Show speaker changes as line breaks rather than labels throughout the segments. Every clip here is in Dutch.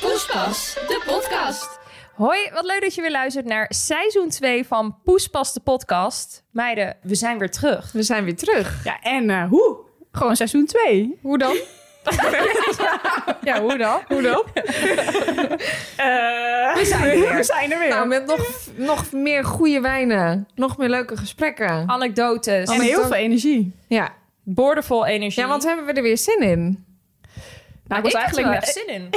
Poespas, de podcast.
Hoi, wat leuk dat je weer luistert naar seizoen 2 van Poespas de podcast. Meiden, we zijn weer terug.
We zijn weer terug.
Ja, en eh, hoe? Gewoon seizoen 2.
Hoe dan?
Ja, hoe dan? Eh.
Hoe dan?
We zijn er
We
weer.
zijn er weer.
Nou, met nog, nog meer goede wijnen. Nog meer leuke gesprekken.
Anekdotes.
en heel veel energie.
Ja.
Boordevol energie.
ja, want hebben we er weer zin in?
Nou,
ik was eigenlijk
net,
echt zin in.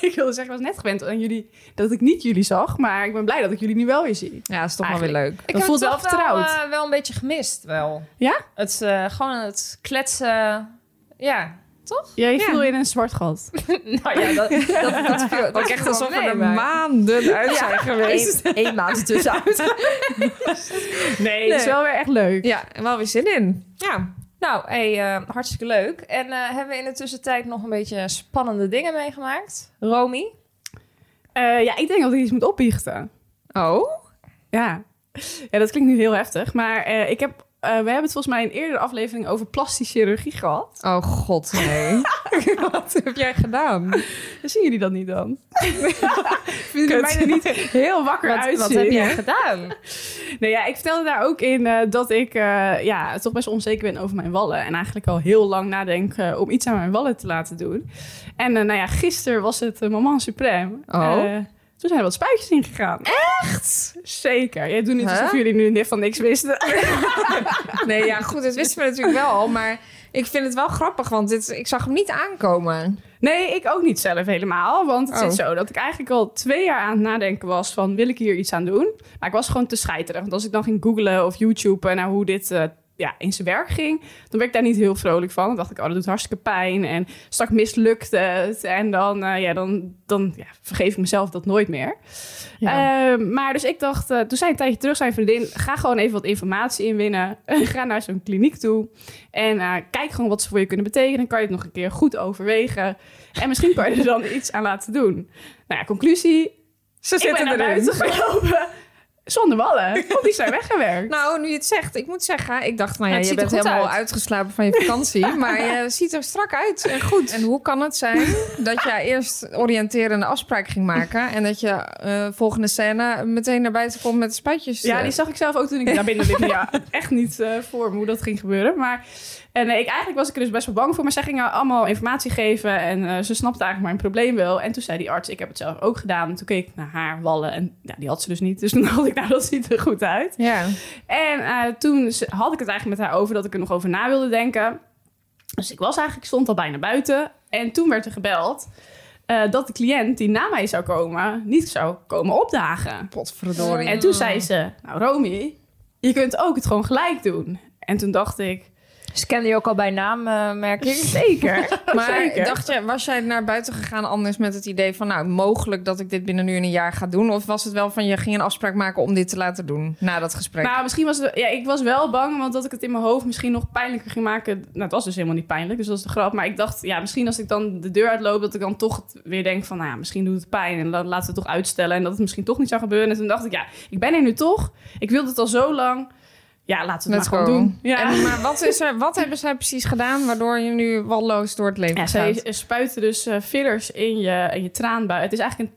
ik wilde zeggen, ik was net gewend aan jullie dat ik niet jullie zag, maar ik ben blij dat ik jullie nu wel weer zie.
Ja, is toch wel weer leuk.
Ik
Dat voelt
het
wel
toch
vertrouwd.
Wel, eh, wel een beetje gemist, wel.
Ja?
Het, eh, gewoon het kletsen. Ja, toch?
Jij
Ja.
viel in een zwart gat.
Nou ja, dat, dat, dat viel dat
Dat
viel
echt alsof we
wel
er
mee, maar-
maanden uit zijn geweest. Eén maand tussenuit.
Nee, het is wel weer echt leuk.
Ja, en wel weer zin in. Ja.
Nou, hey, eh, hartstikke leuk. En eh, hebben we in de tussentijd nog een beetje spannende dingen meegemaakt? Romy?
Eh, ja, ik denk dat ik iets moet opbiechten.
Oh?
Ja. Ja, dat klinkt nu heel heftig, maar eh, ik heb, eh, we hebben het volgens mij in een eerdere aflevering over plastische chirurgie gehad.
Oh god, nee. Wat heb jij gedaan?
Dan zien jullie dat niet dan. Vinden jullie mij er niet heel wakker
Wat,
uitzien?
wat heb jij gedaan?
Nee, ja, ik vertelde daar ook in eh, dat ik eh, ja, toch best onzeker ben over mijn wallen. En eigenlijk al heel lang nadenk eh, om iets aan mijn wallen te laten doen. En eh, nou ja, gisteren was het eh, Moment Supreme.
Oh.
Eh, toen zijn er wat spuitjes ingegaan. Echt? Zeker. Jij doet niet
Huh?
alsof jullie nu net van niks wisten.
Nee, ja, goed, dat wisten we natuurlijk wel al. Maar ik vind het wel grappig, want dit, ik zag hem niet aankomen.
Nee, ik ook niet zelf helemaal. Want het
Oh.
zit zo dat ik eigenlijk al twee jaar aan het nadenken was van... wil ik hier iets aan doen? Maar ik was gewoon te scheiterig. Want als ik dan ging googlen of YouTuben naar hoe dit... eh, ja, in zijn werk ging, dan werd ik daar niet heel vrolijk van. Dan dacht ik, oh, dat doet hartstikke pijn. En straks mislukte het. En dan, eh, ja, dan, dan ja, vergeef ik mezelf dat nooit meer. Eh, maar dus ik dacht, eh, toen zij een tijdje terug zijn vriendin, ga gewoon even wat informatie inwinnen. ga naar zo'n kliniek toe en eh, kijk gewoon wat ze voor je kunnen betekenen. Dan kan je het nog een keer goed overwegen. En misschien kan je er dan iets aan laten doen. Nou ja, conclusie.
Ze
ik ben naar buiten gelopen zonder wallen, want die zijn weggewerkt.
Nou, nu je het zegt, ik moet zeggen, ik dacht, nou ja,
Het
je
ziet er
bent
goed
helemaal
uit.
uitgeslapen van je vakantie, maar je ziet er strak uit en goed. En hoe kan het zijn dat jij eerst oriënterende afspraak ging maken en dat je eh, volgende scène meteen naar buiten komt met de spuitjes?
Ja, die zag ik zelf ook toen ik naar binnen liep. Ja, echt niet eh, voor me hoe dat ging gebeuren. Maar en, eh, ik, eigenlijk was ik er dus best wel bang voor. Maar zij gingen allemaal informatie geven. En eh, ze snapte eigenlijk mijn probleem wel. En toen zei die arts, ik heb het zelf ook gedaan. En toen keek ik naar haar wallen. En ja, die had ze dus niet. Dus toen dacht ik, nou, dat ziet er goed uit.
Ja.
En eh, toen ze- had ik het eigenlijk met haar over dat ik er nog over na wilde denken. Dus ik was eigenlijk, stond al bijna buiten. En toen werd er gebeld eh, dat de cliënt die na mij zou komen, niet zou komen opdagen.
Potverdorie.
En toen zei ze, nou Romy, je kunt ook het gewoon gelijk doen. En toen dacht ik,
Ze kende je ook al bij naam, eh, merk ik.
zeker.
maar
zeker.
dacht je, was jij naar buiten gegaan anders met het idee van, nou, mogelijk dat ik dit binnen nu en een jaar ga doen? Of was het wel van, je ging een afspraak maken om dit te laten doen na dat gesprek?
Nou, misschien was het, ja, ik was wel bang, want dat ik het in mijn hoofd misschien nog pijnlijker ging maken. Nou, het was dus helemaal niet pijnlijk, dus dat is de grap. Maar ik dacht, ja, misschien als ik dan de deur uitloop, dat ik dan toch weer denk van, nou, ja, misschien doet het pijn en dan laten we het toch uitstellen en dat het misschien toch niet zou gebeuren. En toen dacht ik, ja, ik ben er nu toch. Ik wilde het al zo lang. Ja, laten we het
Let's go.
maar gewoon doen. Ja.
En, maar wat, is er, wat hebben zij precies gedaan waardoor je nu walloos door het leven
Ja,
gaat?
zij spuiten dus eh, fillers in je, in je traanbui. Het is eigenlijk een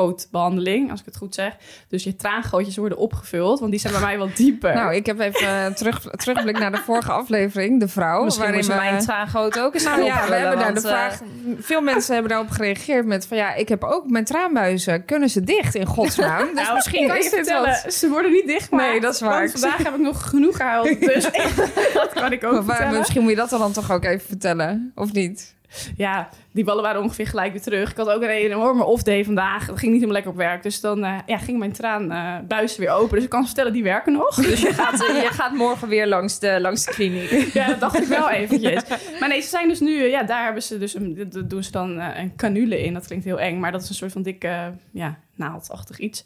traangootbehandeling, als ik het goed zeg. Dus je traangootjes worden opgevuld, want die zijn bij mij wat dieper.
Nou, ik heb even eh, terug, terugblik naar de vorige aflevering, De Vrouw.
Misschien
waarin
moest
we,
Oh, mijn traangoot ook eens
nou ja, we
opvullen,
hebben daar de
want, eh,
vraag. Veel mensen hebben daarop gereageerd met van ja, ik heb ook mijn traanbuizen. Kunnen ze dicht in godsnaam? Dus
Nou,
misschien
ik kan
is
je
dit
vertellen,
wat.
ze worden niet dichtgemaakt.
Nee, dat is waar.
Want vandaag heb ik nog genoeg gehuild, dus dat kan ik ook
Maar waar-
vertellen.
misschien moet je dat dan toch ook even vertellen, of niet?
ja, die ballen waren ongeveer gelijk weer terug. Ik had ook een enorme off-day vandaag. Het ging niet helemaal lekker op werk. Dus dan eh, ja, ging mijn traanbuizen weer open. Dus ik kan vertellen, die werken nog.
Dus je gaat, eh, je gaat morgen weer langs de, langs de kliniek.
Ja, dat dacht ik wel eventjes. Maar nee, ze zijn dus nu... eh, Ja, daar hebben ze dus een, d- d- doen ze dan eh, een canule in. Dat klinkt heel eng, maar dat is een soort van dikke eh, ja, naaldachtig iets.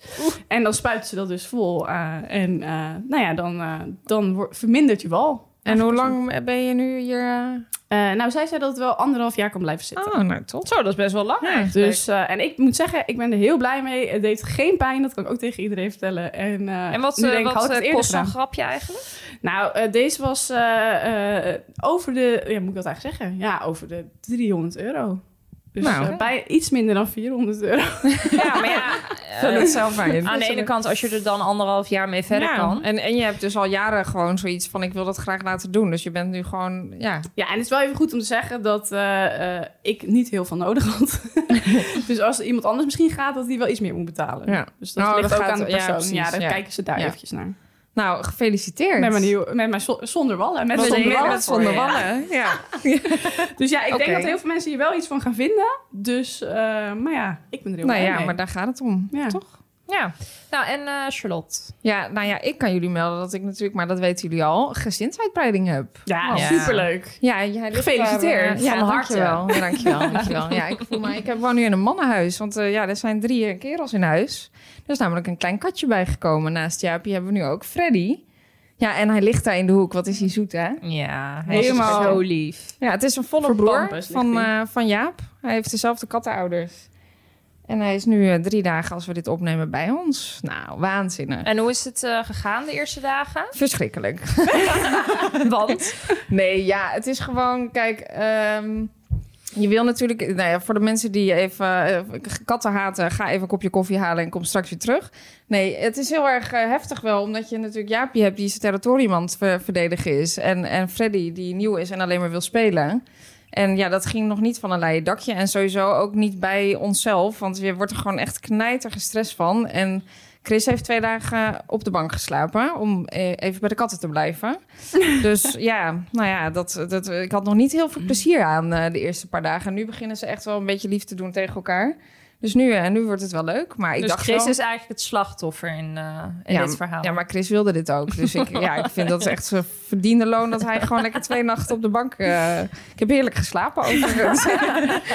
En dan spuiten ze dat dus vol. eh, en eh, nou ja, dan, eh, dan wordt- vermindert je wal.
En hoe lang ben je nu hier? eh?
Eh, nou, zij zei dat het wel anderhalf jaar kan blijven zitten.
Oh, nou top.
Zo, dat is best wel lang.
Ja,
Dus, eh, en ik moet zeggen, ik ben er heel blij mee. Het deed geen pijn, dat kan ik ook tegen iedereen vertellen. En, eh,
En wat,
nu
eh,
denk ik, had ik het
wat eh,
eerder
kost zo'n
gedaan.
grapje eigenlijk?
Nou, eh, deze was eh, eh, over de, ja, moet ik dat eigenlijk zeggen? Ja, over de 300 euro. Dus
Nou.
eh, bij iets minder dan 400 euro.
Ja, maar ja. eh,
Vul het zelf maar in.
aan de ene kant, als je er dan anderhalf jaar mee verder
Ja.
kan.
En, en je hebt dus al jaren gewoon zoiets van... ik wil dat graag laten doen. Dus je bent nu gewoon... Ja,
Ja, en het is wel even goed om te zeggen dat eh, eh, ik niet heel veel nodig had. dus als er iemand anders misschien gaat, dat die wel iets meer moet betalen.
ja.
Dus dat
Oh,
ligt
dat
ook
gaat-
aan de
ja,
persoon. Ja,
precies,
dan
ja.
kijken ze daar
Ja.
eventjes naar.
Nou, gefeliciteerd.
Met mijn, nieuwe- met mijn zo- zonder wallen. Met
Met
zonder
zonder
wallen
wallen.
voor je,
Zonder
ja.
wallen, ja.
Dus ja, ik
Oké.
denk dat heel veel mensen hier wel iets van gaan vinden. Dus, eh, maar ja, ik ben er heel
Nou
blij
ja,
mee.
maar daar gaat het om,
Ja.
toch?
Ja. Nou, en eh, Charlotte.
Ja, nou ja, ik kan jullie melden dat ik natuurlijk... maar dat weten jullie al, gezinsuitbreiding heb.
Ja,
Wow.
superleuk.
Ja, jij ligt
Gefeliciteerd.
daar, eh, ja,
Van harte.
dankjewel. Ja, dankjewel, dankjewel. Ja, ik, voel me, ik heb woon nu in een mannenhuis. Want eh, ja, er zijn drie eh, kerels in huis. Er is namelijk een klein katje bijgekomen. Naast Jaapie hebben we nu ook Freddy. Ja, en hij ligt daar in de hoek. Wat is hij zoet, hè?
Ja,
hij is Helemaal. zo
lief.
Ja, het is een volle
Verbampers
broer
ligt
van,
hij.
eh, van Jaap. Hij heeft dezelfde kattenouders. En hij is nu eh, drie dagen als we dit opnemen bij ons. Nou, waanzinnig.
En hoe is het eh, gegaan de eerste dagen?
Verschrikkelijk.
Want?
Nee, ja, het is gewoon, kijk, ehm, je wil natuurlijk, nou ja, voor de mensen die even eh, katten haten, ga even een kopje koffie halen en kom straks weer terug. Nee, het is heel erg eh, heftig wel, omdat je natuurlijk Jaapie hebt die zijn territorium aan het ver- verdedigen is. En, en Freddy die nieuw is en alleen maar wil spelen. En ja, dat ging nog niet van een leien dakje. En sowieso ook niet bij onszelf, want je wordt er gewoon echt knijtergestrest stress van. En Chris heeft twee dagen op de bank geslapen om eh, even bij de katten te blijven. Dus ja, nou ja, dat, dat, ik had nog niet heel veel plezier aan eh, de eerste paar dagen. En nu beginnen ze echt wel een beetje lief te doen tegen elkaar. Dus nu, eh, nu wordt het wel leuk. Maar ik
dus
dacht
Chris
wel-
is eigenlijk het slachtoffer in, eh, in
Ja,
dit verhaal.
ja, maar Chris wilde dit ook. Dus ik, ja, ik vind dat echt zijn verdiende loon dat hij gewoon lekker twee nachten op de bank. eh, ik heb heerlijk geslapen overigens.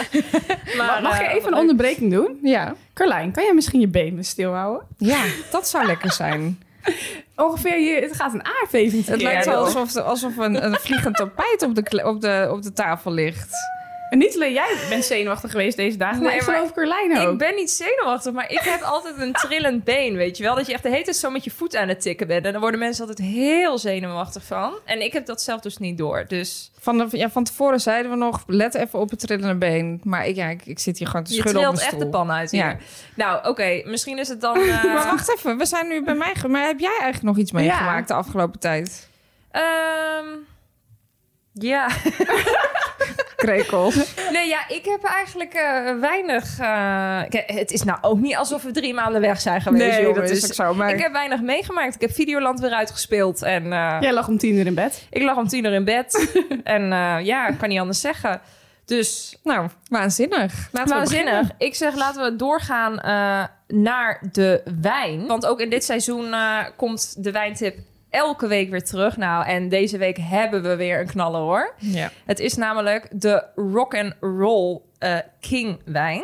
Maar,
Mag je
eh,
even een onderbreking doen?
ja.
Carlijn, kan jij misschien je benen stilhouden?
ja, dat zou lekker zijn.
Ongeveer hier, het gaat een aardbeving te
Het
keer.
lijkt wel alsof, alsof een, een vliegend tapijt op de, kle- op, de, op de tafel ligt.
En niet alleen jij bent zenuwachtig geweest deze dagen, maar
Nee,
ik
maar
geloof Carlijn ook.
Ik ben niet zenuwachtig, maar ik heb altijd een trillend been, weet je wel? Dat je echt de hele tijd zo met je voet aan het tikken bent. En daar worden mensen altijd heel zenuwachtig van. En ik heb dat zelf dus niet door. Dus
Van, de, ja, van tevoren zeiden we nog, let even op het trillende been. Maar ik, ja, ik, ik zit hier gewoon te
je
schudden op
trilt
mijn
echt de
stoel.
pan uit hier.
Ja.
Nou, oké, misschien is het dan... eh,
Maar wacht even, we zijn nu bij mij. ge- Maar heb jij eigenlijk nog iets meegemaakt de afgelopen tijd?
ehm, ja,
Krekel.
nee, ja, ik heb eigenlijk eh, weinig... eh, kijk, het is nou ook niet alsof we drie maanden weg zijn geweest, jongens.
zo. Maar...
Ik heb weinig meegemaakt. Ik heb Videoland weer uitgespeeld en... eh,
Jij lag om tien uur in bed.
Ik lag om tien uur in bed. en eh, ja, ik kan niet anders zeggen. Dus
Nou, waanzinnig. Laten we
waanzinnig. Ik zeg, laten we doorgaan eh, naar de wijn. Want ook in dit seizoen eh, komt de wijntip elke week weer terug. Nou, en deze week hebben we weer een knaller hoor.
beginnen. Ja.
Het is namelijk de Rock and Roll eh, King wijn.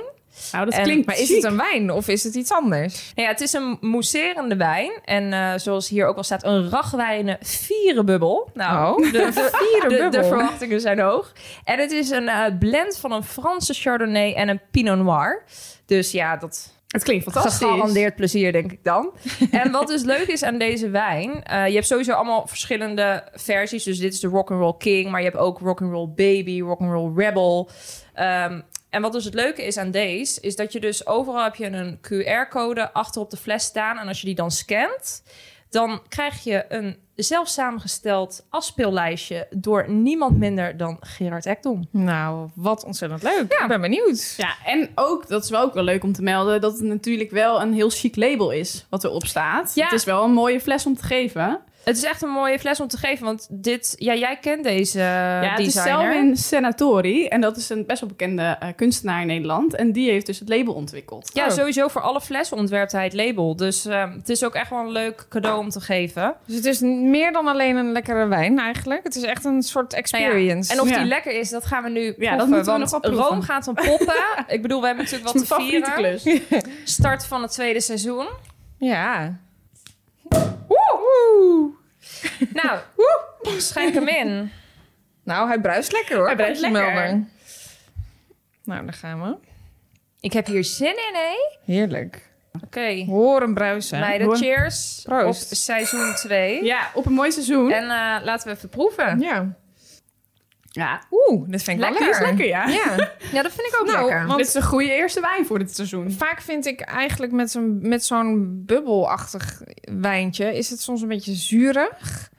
Nou, dat
En-
klinkt
Maar
maar
is het een wijn of is het iets anders?
Nou ja, het is een mousserende wijn. En eh, zoals hier ook al staat, een ragwijnen vierenbubbel. Nou,
Oh.
de, de, de,
Vierenbubbel.
verwachtingen zijn hoog. En het is een eh, blend van een Franse Chardonnay en een Pinot Noir. Dus ja, dat
Het klinkt fantastisch.
gegarandeerd plezier, denk ik dan. en wat dus leuk is aan deze wijn... eh, je hebt sowieso allemaal verschillende versies. Dus dit is de Rock'n'Roll King, maar je hebt ook Rock'n'Roll Baby, Rock'n'Roll Rebel... Ehm, en wat dus het leuke is aan deze, is dat je dus overal heb je een QR-code achter op de fles staan. En als je die dan scant, dan krijg je een zelf samengesteld afspeellijstje door niemand minder dan Gerard Ekdom.
Nou, wat ontzettend leuk. Ik ben benieuwd.
Ja, en ook, dat is wel ook wel leuk om te melden, dat het natuurlijk wel een heel chic label is wat erop staat.
Ja.
Het is wel een mooie fles om te geven.
Het is echt een mooie fles om te geven, want dit, ja, jij kent deze ja,
ja, Eh, het is
designer.
Selwyn Senatori. En dat is een best wel bekende eh, kunstenaar in Nederland. En die heeft dus het label ontwikkeld.
Ja,
Oh.
sowieso voor alle flessen ontwerpt hij het label. Dus ehm, het is ook echt wel een leuk cadeau om te geven.
Dus het is meer dan alleen een lekkere wijn eigenlijk. Het is echt een soort
Nou ja,
experience.
En of
Dus, Ja.
die lekker is, dat gaan we nu proeven.
dat moeten we
want
nog wel proeven.
Rome gaat dan poppen. Ik bedoel, we hebben natuurlijk wat
Mijn
te
favoriete
vieren.
klus.
Start van het tweede seizoen.
Ja.
Nou, schenk hem in.
Nou, hij bruist lekker hoor.
Hij bruist
Komt die
lekker.
melder. Nou, daar gaan we.
Ik heb hier zin in, hé.
Heerlijk.
Oké.
Hoor hem bruisen.
Meiden,
Hoor.
cheers
Proost.
op seizoen 2.
Ja, op een mooi seizoen.
En eh, laten we even proeven.
Ja.
ja,
Oeh, dit vind ik
Lekker.
wel
die is
lekker.
lekker, ja.
Ja.
Ja, dat vind ik ook
Nou,
lekker.
want-
Dit is een goede eerste wijn voor dit seizoen.
Vaak vind ik eigenlijk met zo'n, met zo'n bubbelachtig wijntje... is het soms een beetje zuurig.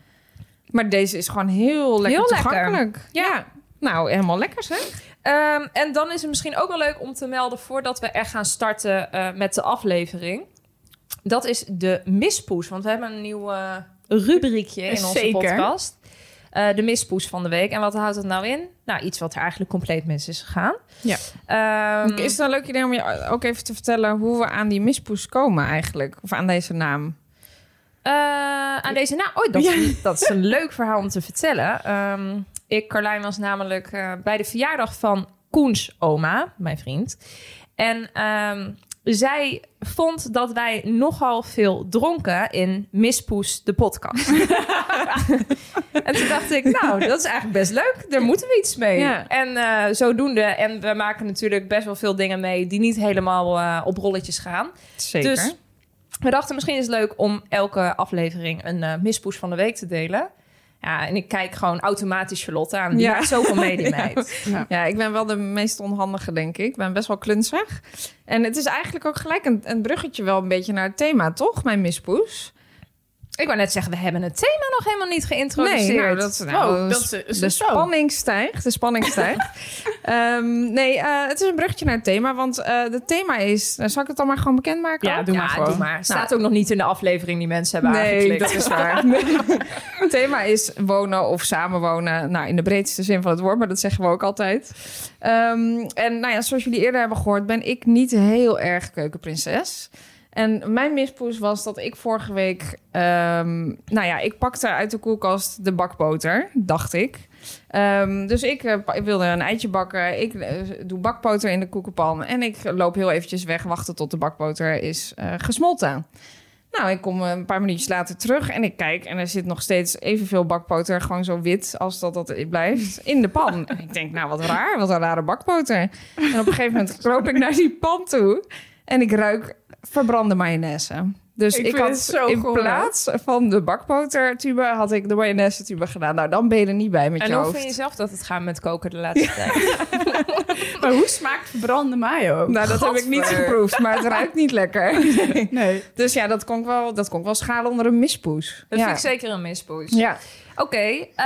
Maar deze is gewoon heel lekker
Heel lekker.
toegankelijk. Ja. Nou, helemaal lekker zeg.
Ehm, en dan is het misschien ook wel leuk om te melden voordat we echt gaan starten eh, met de aflevering. Dat is de mispoes, want we hebben een nieuw eh, rubriekje in onze
Zeker.
podcast. Eh, de mispoes van de week. En wat houdt dat nou in? Nou, iets wat er eigenlijk compleet mis is gegaan.
Ja.
Ehm,
Is het een leuk idee om je ook even te vertellen... hoe we aan die mispoes komen eigenlijk? Of aan deze naam?
eh, aan deze naam. Oh, dat, is- dat is een leuk verhaal om te vertellen. Ehm, ik, Carlijn, was namelijk eh, bij de verjaardag van Koens oma, mijn vriend. En ehm, zij vond dat wij nogal veel dronken in Mispoes, de podcast. en toen dacht ik, nou, dat is eigenlijk best leuk. Daar moeten we iets mee.
Ja.
En eh, zodoende. En we maken natuurlijk best wel veel dingen mee die niet helemaal eh, op rolletjes gaan.
Zeker.
Dus we dachten misschien is het leuk om elke aflevering een eh, mispoes van de week te delen. Ja, en ik kijk gewoon automatisch Charlotte aan. Die
Ja.
maakt zoveel medemeid.
Ja, ik ben wel de meest onhandige, denk ik. Ik ben best wel klunzig. En het is eigenlijk ook gelijk een, een bruggetje wel een beetje naar het thema, toch? Mijn mispoes.
Ik wou net zeggen, we hebben het thema nog helemaal niet geïntroduceerd.
Nee, nou, dat, is- nou,
Oh,
de
dat
sp-
is- is
de
het zo?
spanning stijgt. De spanning stijgt. Ehm, nee, eh, het is een bruggetje naar het thema. Want eh het thema is... nou, zal ik het dan maar gewoon bekendmaken?
Ja,
ook?
doe
Oh, ja,
maar gewoon. Nou,
doe maar. Staat ook nog niet in de aflevering die mensen hebben
Nou. Nee,
aangeklikt.
dat is waar. Nee. Het thema is wonen of samenwonen. Nou, in de breedste zin van het woord, maar dat zeggen we ook altijd. Ehm, en nou ja, zoals jullie eerder hebben gehoord, ben ik niet heel erg keukenprinses. En mijn mispoes was dat ik vorige week... ehm, nou ja, ik pakte uit de koelkast de bakboter, dacht ik. Ehm, dus ik eh, pa- ik wilde een eitje bakken. Ik eh, doe bakboter in de koekenpan. En ik loop heel eventjes weg, wachten tot de bakboter is eh, gesmolten. Nou, ik kom eh, een paar minuutjes later terug en ik kijk en er zit nog steeds evenveel bakpoter, gewoon zo wit als dat dat blijft, in de pan. En ik denk, nou wat raar, wat een rare bakpoter. En op een gegeven moment loop ik naar die pan toe en ik ruik verbrande mayonaise. Dus
Ik
ik,
vind
had
het zo
in
goor, hè?
plaats van de bakpotertube had ik de mayonaise tube gedaan. Nou, dan ben je er niet bij met
En
je
hoe
hoofd.
vind je zelf dat het gaat met koken de laatste tijd?
Maar hoe smaakt verbrande mayo?
Nou, dat heb ik niet
Gadver.
geproefd, maar het ruikt niet lekker.
Nee.
Dus ja, dat kon ik wel, dat kon ik wel schalen onder een mispoes.
Dat
ja.
vind ik zeker een mispoes.
Ja.
Oké, eh,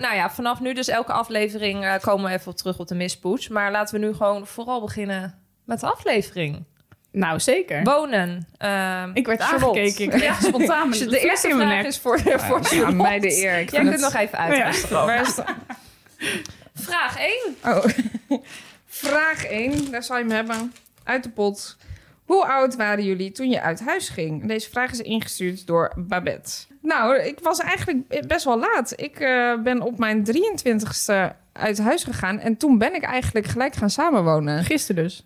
nou ja, vanaf nu dus elke aflevering eh, komen we even op terug op de mispoes. Maar laten we nu gewoon vooral beginnen met de aflevering.
Nou, zeker.
Wonen. Ehm,
Ik werd
Charlotte.
aangekeken. Ik kreeg echt spontaan
Dus
met
De eerste
in mijn
vraag
nek.
is voor, voor
Ah, Ja,
Charlotte.
mij de eer. Ik
Jij
vind
kunt nog even
Ja.
uit. Vraag 1.
Oh. Vraag 1, daar zal je hem hebben. Uit de pot. Hoe oud waren jullie toen je uit huis ging? Deze vraag is ingestuurd door Babette. Nou, ik was eigenlijk best wel laat. Ik eh, ben op mijn 23ste uit huis gegaan. En toen ben ik eigenlijk gelijk gaan samenwonen.
Gisteren dus.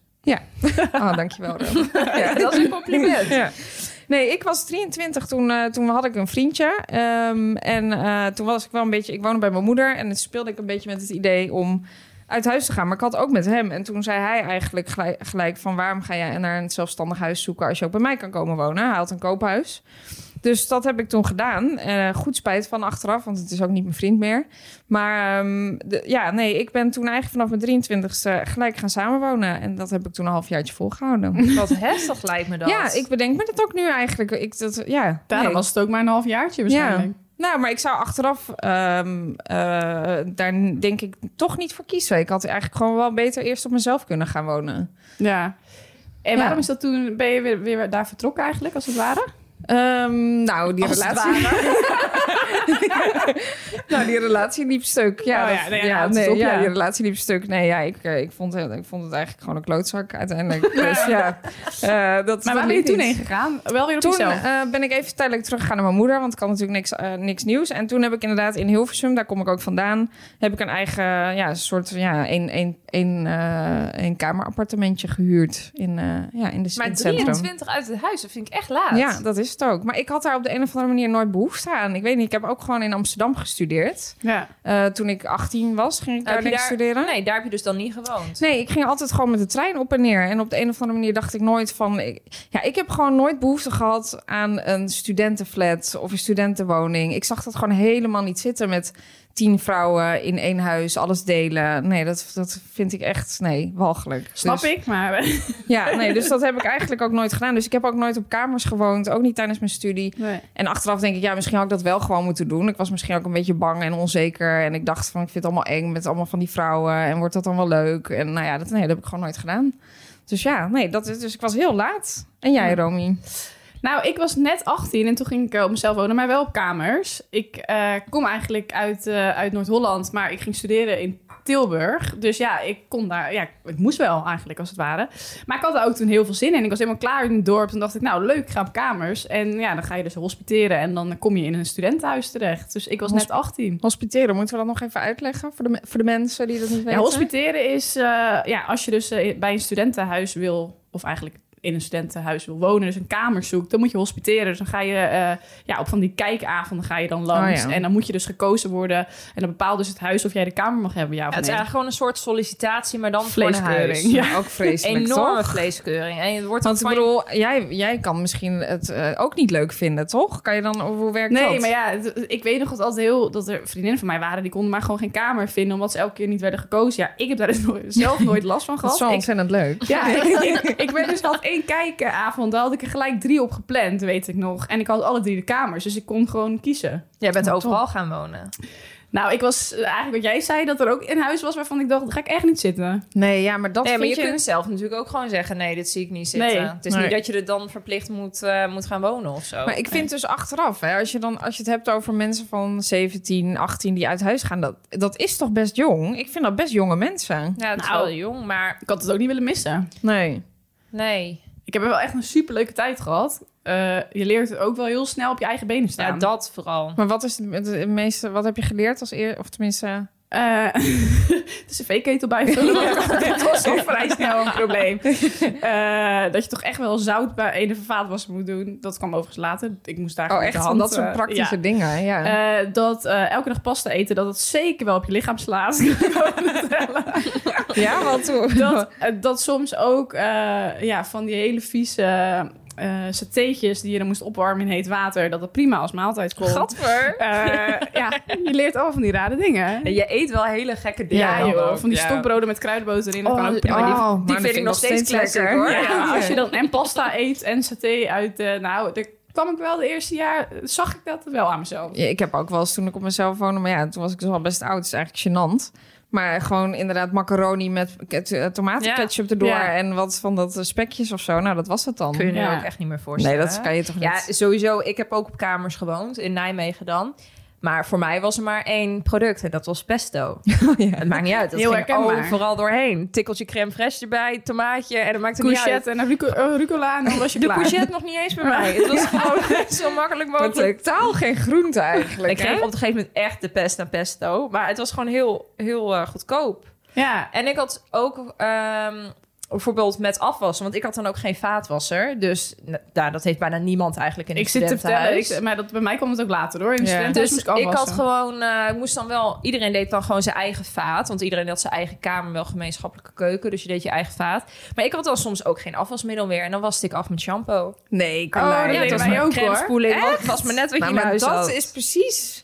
Oh, dankjewel. Rob.
Ja, dat is een compliment.
Ja. Nee, ik was 23 toen, eh, toen had ik een vriendje. Ehm, en eh, toen was ik wel een beetje... Ik woonde bij mijn moeder en toen speelde ik een beetje met het idee om uit huis te gaan. Maar ik had ook met hem. En toen zei hij eigenlijk gelijk, gelijk van... waarom ga jij naar een zelfstandig huis zoeken als je ook bij mij kan komen wonen? Hij had een koophuis. Dus dat heb ik toen gedaan. Eh, goed spijt van achteraf, want het is ook niet mijn vriend meer. Maar ehm, de- ja, nee, ik ben toen eigenlijk vanaf mijn 23ste gelijk gaan samenwonen. En dat heb ik toen een halfjaartje volgehouden.
Wat heftig lijkt me dat.
Ja, ik bedenk me dat ook nu eigenlijk. Ik, dat, ja,
Daarom
nee.
was het ook maar een half jaartje waarschijnlijk.
Nou, maar ik zou achteraf ehm, eh, daar denk ik toch niet voor kiezen. Ik had eigenlijk gewoon wel beter eerst op mezelf kunnen gaan wonen.
Ja. En
Ja.
waarom is dat toen... Ben je weer, weer daar vertrokken eigenlijk, als het ware?
Ehm, nou, die
Als het
relatie. nou, die relatie liep stuk. Ja,
Oh ja,
dat-
nee,
ja,
ja, houdt
nee,
het op,
ja,
ja.
die relatie liep stuk. Nee, ja, ik, eh, ik, vond, het- ik vond het eigenlijk gewoon een klootzak uiteindelijk. Dus ja, eh, dat
Maar waar
dat
ben je
liep
toen
niet.
heen gegaan? Wel weer op
Toen
jezelf.
eh, ben ik even tijdelijk teruggegaan naar mijn moeder, want ik had natuurlijk niks, eh, niks nieuws. En toen heb ik inderdaad in Hilversum, daar kom ik ook vandaan, heb ik een eigen ja, soort ja, een, een, een, eh, een kamerappartementje gehuurd in, eh, ja, in, de, in
Maar
het centrum.
23 uit het huis, dat vind ik echt laat.
Ja, dat is het ook. Maar ik had daar op de een of andere manier nooit behoefte aan. Ik weet niet, ik heb ook gewoon in Amsterdam gestudeerd.
Ja.
Eh, toen ik 18 was, ging ik
Heb
daar
je
niks
daar-
studeren.
Nee, daar heb je dus dan niet gewoond.
Nee, ik ging altijd gewoon met de trein op en neer. En op de een of andere manier dacht ik nooit van... Ik, ja, ik heb gewoon nooit behoefte gehad aan een studentenflat of een studentenwoning. Ik zag dat gewoon helemaal niet zitten met tien vrouwen in één huis, alles delen. Nee, dat, dat vind ik echt, nee, walgelijk.
Snap
Dus-
ik, maar...
Ja, nee, dus dat heb ik eigenlijk ook nooit gedaan. Dus ik heb ook nooit op kamers gewoond, ook niet tijdens mijn studie.
Nee.
En achteraf denk ik, ja, misschien had ik dat wel gewoon moeten doen. Ik was misschien ook een beetje bang en onzeker. En ik dacht van, ik vind het allemaal eng met allemaal van die vrouwen. En wordt dat dan wel leuk? En nou ja, dat, nee, dat heb ik gewoon nooit gedaan. Dus ja, nee, dat is, dus ik was heel laat. En jij, Romy?
Nou, ik was net 18 en toen ging ik eh, op mezelf wonen, maar wel op kamers. Ik eh, kom eigenlijk uit, eh, uit Noord-Holland, maar ik ging studeren in Tilburg. Dus ja, ik kon daar, ja, ik moest wel eigenlijk als het ware. Maar ik had daar ook toen heel veel zin in. Ik was helemaal klaar in het dorp. Toen dacht ik, nou leuk, ik ga op kamers. En ja, dan ga je dus hospiteren en dan kom je in een studentenhuis terecht. Dus ik was net 18.
Hospiteren, moeten we dat nog even uitleggen voor de, me- voor de mensen die dat niet
Ja,
weten?
hospiteren is eh, ja, als je dus eh, bij een studentenhuis wil, of eigenlijk in een studentenhuis wil wonen, dus een kamer zoekt, dan moet je hospiteren. Dus dan ga je eh, ja, op van die kijkavonden ga je dan langs.
Oh ja.
En dan moet je dus gekozen worden. En dan bepaalt dus het huis of jij de kamer mag hebben. Ja, of
Ja, het is
nee.
eigenlijk gewoon een soort sollicitatie, maar dan voor een
Vleeskeuring.
huis.
Ja, ook vreselijk,
Enorme
toch?
vleeskeuring. En het wordt
Want ik
van-
bedoel, jij, jij kan misschien het eh, ook niet leuk vinden, toch? Kan je dan, hoe werkt dat?
Nee, maar ja, het- ik weet nog dat altijd heel dat er vriendinnen van mij waren die konden maar gewoon geen kamer vinden omdat ze elke keer niet werden gekozen. Ja, ik heb daar dus nooit- zelf nooit last van
Dat is
gehad.
wel
Ik
ontzettend leuk.
Ja, ik, ik, ik ben dus had één kijkenavond. Daar had ik er gelijk drie op gepland, weet ik nog. En ik had alle drie de kamers, dus ik kon gewoon kiezen.
Jij bent overal gaan wonen.
Nou, ik was eh, eigenlijk wat jij zei, dat er ook een huis was waarvan ik dacht, daar ga ik echt niet zitten.
Nee, ja, maar dat
nee, maar je,
vind je...
kunt zelf natuurlijk ook gewoon zeggen... nee, dit zie ik niet zitten.
Nee.
het is
Nee.
niet dat je er dan verplicht moet, eh, moet gaan wonen of zo.
Maar ik vind dus achteraf, hè, als, je dan, als je het hebt over mensen van 17, 18 die uit huis gaan, dat, dat is toch best jong? Ik vind dat best jonge mensen.
ja, het is
Nou.
wel jong, maar
Ik had het ook niet willen missen.
Nee.
nee.
Ik heb wel echt een superleuke tijd gehad. Eh, je leert ook wel heel snel op je eigen benen
Ja,
staan.
dat vooral.
Maar wat is het, het meeste, wat heb je geleerd als eer, of tenminste...
Eh, de cv-ketel bijvullen. dat was al vrij snel een probleem. Eh, dat je toch echt wel zout bij ene vervaatwasser moet doen. Dat kwam overigens later. Ik moest daar
Oh,
gewoon met
echt
de
van
hand,
dat soort
eh, ja.
praktische dingen, ja.
Eh, dat eh, elke dag pasta eten, dat het zeker wel op je lichaam slaat. Kan ik wel vertellen.
ja, wat toen?
dat, eh, dat soms ook eh, ja, van die hele vieze eh satéetjes die je dan moest opwarmen in heet water, dat dat prima als maaltijd kon.
Gadver.
Eh, ja, je leert al van die rare dingen.
En Je eet wel hele gekke dingen.
Ja,
dan
joh,
ook,
van die
ja.
stokbroden met kruidenboter erin. dat
Oh,
kan ook
ja,
prima.
maar die-
Oh, maar
die
dat
vind ik nog steeds classic,
lekker.
hoor.
Ja,
Ja.
als je dan en pasta eet en saté uit, eh, nou, daar kwam ik wel de eerste jaar, zag ik dat wel aan mezelf.
Ja, ik heb ook wel eens toen ik op mezelf woonde, maar ja, toen was ik dus al best oud, dus eigenlijk gênant. Maar gewoon inderdaad macaroni met ke- t- eh, tomatenketchup erdoor
Ja.
en wat van dat eh, spekjes of zo. Nou, dat was het dan.
Kun je je
Ja.
ook echt niet meer
Nee,
voorstellen.
dat
hè?
kan je toch niet.
Ja, sowieso. Ik heb ook op kamers gewoond in Nijmegen dan. Maar voor mij was er maar één product en dat was pesto. Het maakt niet uit. Dat
Heel
ging
herkenbaar.
overal doorheen. Tikkeltje crème fraîche erbij, tomaatje en dat maakt het niet uit.
Courgette en ruco- eh, rucola en dan was je
De
klaar.
courgette nog niet eens bij mij. Het was gewoon zo makkelijk
Maar
mogelijk.
totaal geen groente eigenlijk.
Ik kreeg op een gegeven moment echt de pest en pesto. Maar het was gewoon heel, heel eh, goedkoop.
Ja,
En ik had ook ehm, bijvoorbeeld met afwassen. Want ik had dan ook geen vaatwasser. Dus nou, daar- dat heeft bijna niemand eigenlijk in een
ik zit te vertellen,
studentenhuis.
ik, maar dat, bij mij kwam het ook later hoor. In de
Ja.
studentenhuis
Dus
moest
ik,
ik
had
afwassen.
gewoon, eh, ik moest dan wel, iedereen deed dan gewoon zijn eigen vaat. Want iedereen had zijn eigen kamer, wel gemeenschappelijke keuken. Dus je deed je eigen vaat. Maar ik had dan soms ook geen afwasmiddel meer. En dan waste ik af met shampoo.
Nee,
Carlijn, Oh, dat deden
was
wij
maar
ook, hoor.
crèmespoeling. Het was maar net wat je
Nou,
in
maar
huis
dat
had.
is precies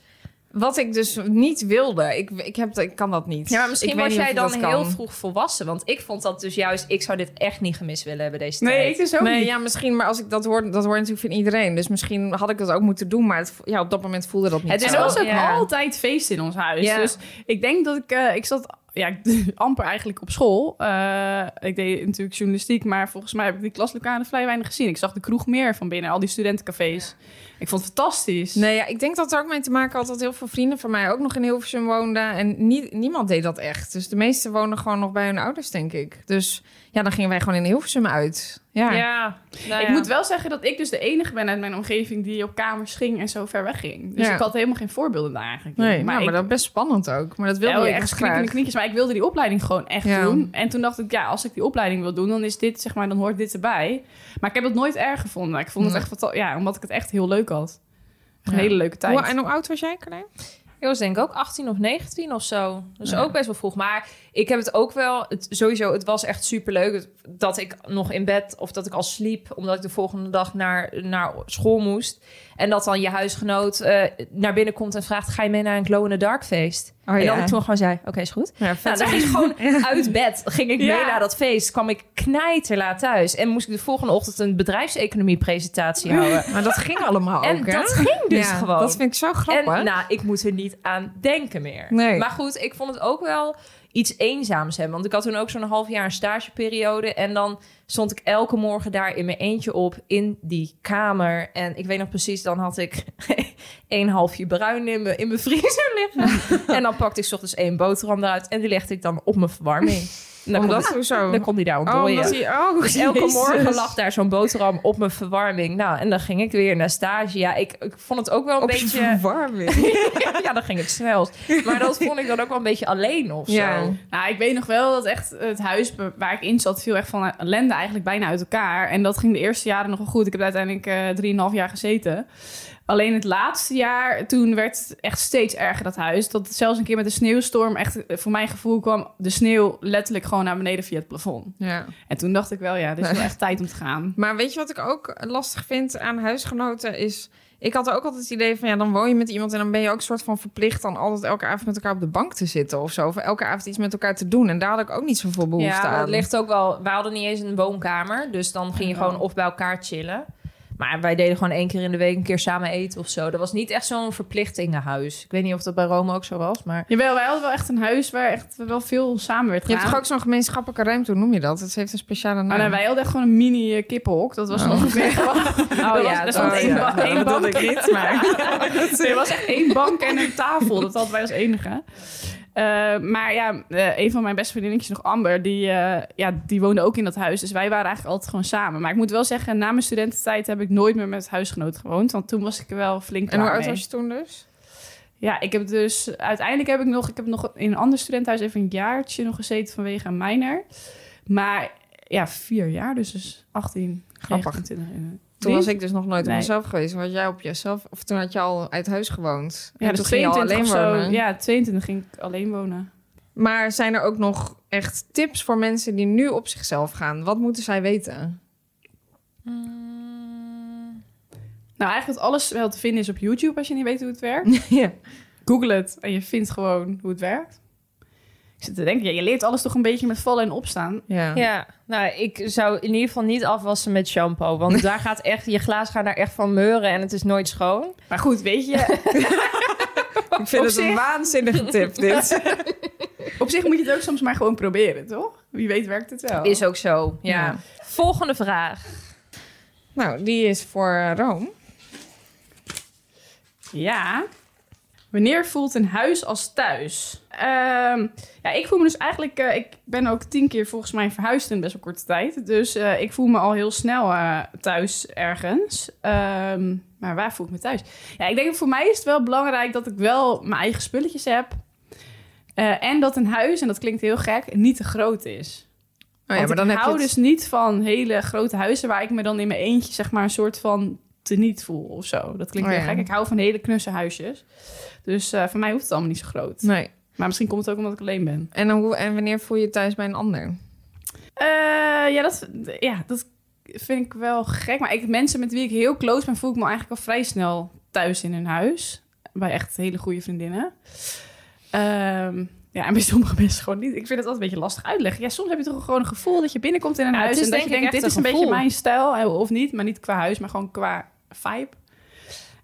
wat ik dus niet wilde. Ik, ik, heb, dat- ik kan dat niet.
Ja, maar misschien
Ik weet
was
niet of
jij
ik
dan
dat kan.
heel vroeg volwassen. Want ik vond dat dus juist... Ik zou dit echt niet gemist willen hebben deze tijd.
Nee, ik dus ook
Nee,
niet.
ja, misschien, maar als ik dat hoor, dat hoor je natuurlijk van iedereen. Dus misschien had ik dat ook moeten doen, maar het, vo- ja, op dat moment voelde dat niet.
Het is
En
zo.
er was ook
Ja.
altijd feest in ons huis.
Ja.
Dus ik denk dat ik... eh, ik zat ja, ik- amper eigenlijk op school. Eh, ik deed natuurlijk journalistiek, maar volgens mij heb ik die klaslokalen vrij weinig gezien. Ik zag de kroeg meer van binnen, al die studentencafés. Ik vond het fantastisch.
Nee, ja, ik denk dat het er ook mee te maken had dat heel veel vrienden van mij ook nog in Hilversum woonden. En nie- niemand deed dat echt. Dus de meesten woonden gewoon nog bij hun ouders, denk ik. Dus ja, dan gingen wij gewoon in Hilversum uit. Ja.
Ja. Nou
ik
ja.
moet wel zeggen dat ik dus de enige ben uit mijn omgeving die op kamers ging en zo ver weg ging. Dus
Ja.
ik had helemaal geen voorbeelden daar eigenlijk. in.
Nee, nou, maar,
ik-
dat is best spannend ook. Maar dat
wilde
wilde ik
echt
echt
knikken
graag.
in de knietjes, maar ik wilde die opleiding gewoon echt
Ja.
doen. En toen dacht ik, ja, als ik die opleiding wil doen, dan is dit, zeg maar, dan hoort dit erbij. Maar ik heb het nooit erg gevonden. Ik vond het
Nee.
echt fanta- ja, omdat ik het echt heel leuk had. Echt Een
Ja.
hele leuke tijd.
Hoe, en hoe oud was jij, Carlijn?
Ik was denk ik ook 18 of 19 of zo. Dus ook best wel vroeg. Maar ik heb het ook wel... Het, sowieso, het was echt superleuk het- dat ik nog in bed... of dat ik al sliep, omdat ik de volgende dag naar, naar school moest. En dat dan je huisgenoot eh, naar binnen komt en vraagt... ga je mee naar een glow in the dark feest?
Oh,
en
ja.
dat ik toen gewoon zei, oké, is goed.
Ja,
Nou,
vet.
dan ging ik gewoon uit bed. Ging ik mee
Ja.
naar dat feest. Kwam ik knijterlaat thuis. En moest ik de volgende ochtend een bedrijfseconomie-presentatie houden.
Maar dat ging allemaal
En
ook, hè?
dat ging dus
Ja,
gewoon.
Dat vind ik zo
En
grappig.
nou, ik moet er niet aan denken meer.
Nee.
Maar goed, ik vond het ook wel iets eenzaams hebben. Want ik had toen ook zo'n half jaar een stageperiode. En dan stond ik elke morgen daar in mijn eentje op in die kamer. En ik weet nog precies, dan had ik één halfje bruin in mijn, in mijn vriezer liggen. en dan pakte ik 's ochtends één boterham eruit. En die legde ik dan op mijn verwarming. En dan,
Omdat,
kon,
hoezo?
die, dan kon die daar
oh,
ontdooien.
omdat hij... Oh,
Dus elke
Jezus.
morgen lag daar zo'n boterham op mijn verwarming. Nou, en dan ging ik weer naar stage. Ja, ik, ik vond het ook wel een
Op je
beetje
verwarming.
ja, dan ging het snel. Maar dat vond ik dan ook wel een beetje alleen of zo.
Ja.
Nou, ik weet nog wel dat echt het huis be- waar ik in zat... viel echt van ellende eigenlijk bijna uit elkaar. En dat ging de eerste jaren nog wel goed. Ik heb daar uiteindelijk eh, drieënhalf jaar gezeten. Alleen het laatste jaar, toen werd het echt steeds erger, dat huis. Dat het zelfs een keer met een sneeuwstorm... echt eh, voor mijn gevoel kwam de sneeuw letterlijk gewoon naar beneden via het plafond.
ja.
En toen dacht ik wel, ja, dit is wel echt tijd om te gaan.
Maar weet je wat ik ook lastig vind aan huisgenoten is... Ik had ook altijd het idee van, ja, dan woon je met iemand... en dan ben je ook soort van verplicht dan altijd elke avond met elkaar op de bank te zitten of zo. Of elke avond iets met elkaar te doen. En daar had ik ook niet zoveel behoefte
Ja, maar
aan.
het ligt ook wel. We hadden niet eens een woonkamer, dus dan ging je gewoon of bij elkaar chillen. Maar wij deden gewoon één keer in de week een keer samen eten of zo. Dat was niet echt zo'n verplichtingenhuis. Ik weet niet of dat bij Rome ook zo was, maar
Jawel, wij hadden wel echt een huis waar echt wel veel samen werd
Je hebt
gedaan.
toch ook zo'n gemeenschappelijke ruimte, hoe noem je dat? Het heeft een speciale
Oh,
naam.
nou, wij hadden echt gewoon een mini eh, kippenhok. Dat
Oh.
was ongeveer gewoon... dat
ja,
was, er
dat-
stond
oh,
één
ja.
ba-
Dat
één
bedoelde
bank.
ik niet, maar-
Nee, er was echt één bank en een tafel. Dat hadden wij als enige. Eh, maar ja, eh, een van mijn beste vriendinnetjes nog, Amber, die, eh, ja, die woonde ook in dat huis. Dus wij waren eigenlijk altijd gewoon samen. Maar ik moet wel zeggen, na mijn studententijd heb ik nooit meer met huisgenoten gewoond. Want toen was ik er wel flink
En hoe
klaar
oud
mee.
was je toen dus?
Ja, ik heb dus uiteindelijk heb ik nog, ik heb nog in een ander studentenhuis even een jaartje nog gezeten vanwege een minor. Maar ja, vier jaar, dus, dus 18,
Grappig.
29. eh,
Toen
wie?
was ik dus nog nooit op
Nee.
mezelf geweest. Want jij op jezelf, of toen had je al uit huis gewoond.
ja,
En
dus
toen ging je al
22 of zo.
wonen.
Ja, 22 ging ik alleen wonen.
Maar zijn er ook nog echt tips voor mensen die nu op zichzelf gaan? Wat moeten zij weten?
Mm.
Nou, eigenlijk dat alles wel te vinden is op YouTube als je niet weet hoe het werkt.
Ja.
Google het en je vindt gewoon hoe het werkt. Ik zit te denken, ja, je leert alles toch een beetje met vallen en opstaan.
Ja.
Ja, nou, ik zou in ieder geval niet afwassen met shampoo. Want daar gaat echt, je glaas gaat daar echt van meuren en het is nooit schoon.
Maar goed, weet je,
Ik vind
Op
het een
zich-
waanzinnige tip, dit.
op zich moet je het ook soms maar gewoon proberen, toch? Wie weet werkt het wel.
Is ook zo, ja.
Ja.
Volgende vraag.
nou, die is voor eh, Rome.
Ja. Wanneer voelt een huis als thuis? Ehm, ja, ik voel me dus eigenlijk... eh, ik ben ook tien keer volgens mij verhuisd in best wel korte tijd. Dus eh, ik voel me al heel snel eh, thuis ergens. Ehm, maar waar voel ik me thuis? Ja, ik denk dat voor mij is het wel belangrijk dat ik wel mijn eigen spulletjes heb. Eh, en dat een huis, en dat klinkt heel gek, niet te groot is.
Oh ja,
Want
maar dan
ik
heb je
hou
het-
dus niet van hele grote huizen waar ik me dan in mijn eentje zeg maar een soort van teniet voel of zo. Dat klinkt
Oh
heel
ja.
gek. Ik hou van hele knusse huisjes. Dus eh, voor mij hoeft het allemaal niet zo groot.
Nee.
Maar misschien komt het ook omdat ik alleen ben.
En, hoe, en wanneer voel je je thuis bij een ander?
Eh, ja, dat, ja, dat vind ik wel gek. Maar ik, mensen met wie ik heel close ben, voel ik me eigenlijk al vrij snel thuis in hun huis. Bij echt hele goede vriendinnen. Ehm, ja, en bij sommige mensen gewoon niet. Ik vind het altijd een beetje lastig uitleggen. Ja, soms heb je toch gewoon een gevoel dat je binnenkomt in een
Ja, het
huis...
is
en dat
denk
je
ik
denkt,
echt
dit is
een
een beetje
gevoel.
mijn stijl, eh, of niet. Maar niet qua huis, maar gewoon qua vibe.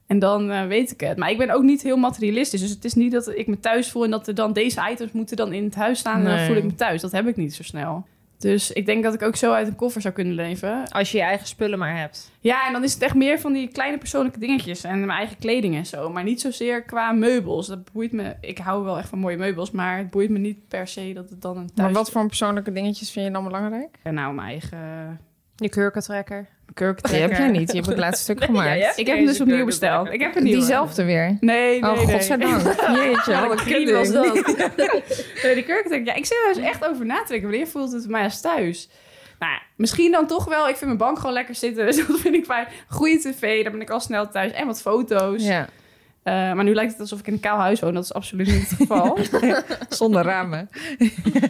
En dan eh, weet ik het. Maar ik ben ook niet heel materialistisch. Dus het is niet dat ik me thuis voel en dat er dan deze items moeten dan in het huis staan. En dan
Nee.
voel ik me thuis. Dat heb ik niet zo snel. Dus ik denk dat ik ook zo uit een koffer zou kunnen leven.
Als je je eigen spullen maar hebt.
Ja, en dan is het echt meer van die kleine persoonlijke dingetjes en mijn eigen kleding en zo. Maar niet zozeer qua meubels. Dat boeit me. Ik hou wel echt van mooie meubels, maar het boeit me niet per se dat het dan een thuis...
Maar wat voor persoonlijke dingetjes vind je dan belangrijk?
Ja, Nou, mijn eigen
Je kurkentrekker.
Die
kurktrekker.
heb jij niet. Je hebt het laatste stuk gemaakt.
jij hebt
Ik heb hem dus
Deze
opnieuw
kurkentrekker.
besteld. Ik heb een nieuwe.
Diezelfde weer.
Nee, nee,
oh,
nee.
godzijdank. Jeetje, Oh, wat een
Wie
kutding.
was dat?
Nee, die kurkentrekker. Ja, ik zit er dus echt over na te denken. Wanneer voelt het mij als thuis? Nou, ja, misschien dan toch wel. Ik vind mijn bank gewoon lekker zitten. Dus dat vind ik fijn. Goede tv, dan ben ik al snel thuis. En wat foto's.
Ja,
Eh, maar nu lijkt het alsof ik in een kaal huis woon. Dat is absoluut niet het geval.
zonder ramen.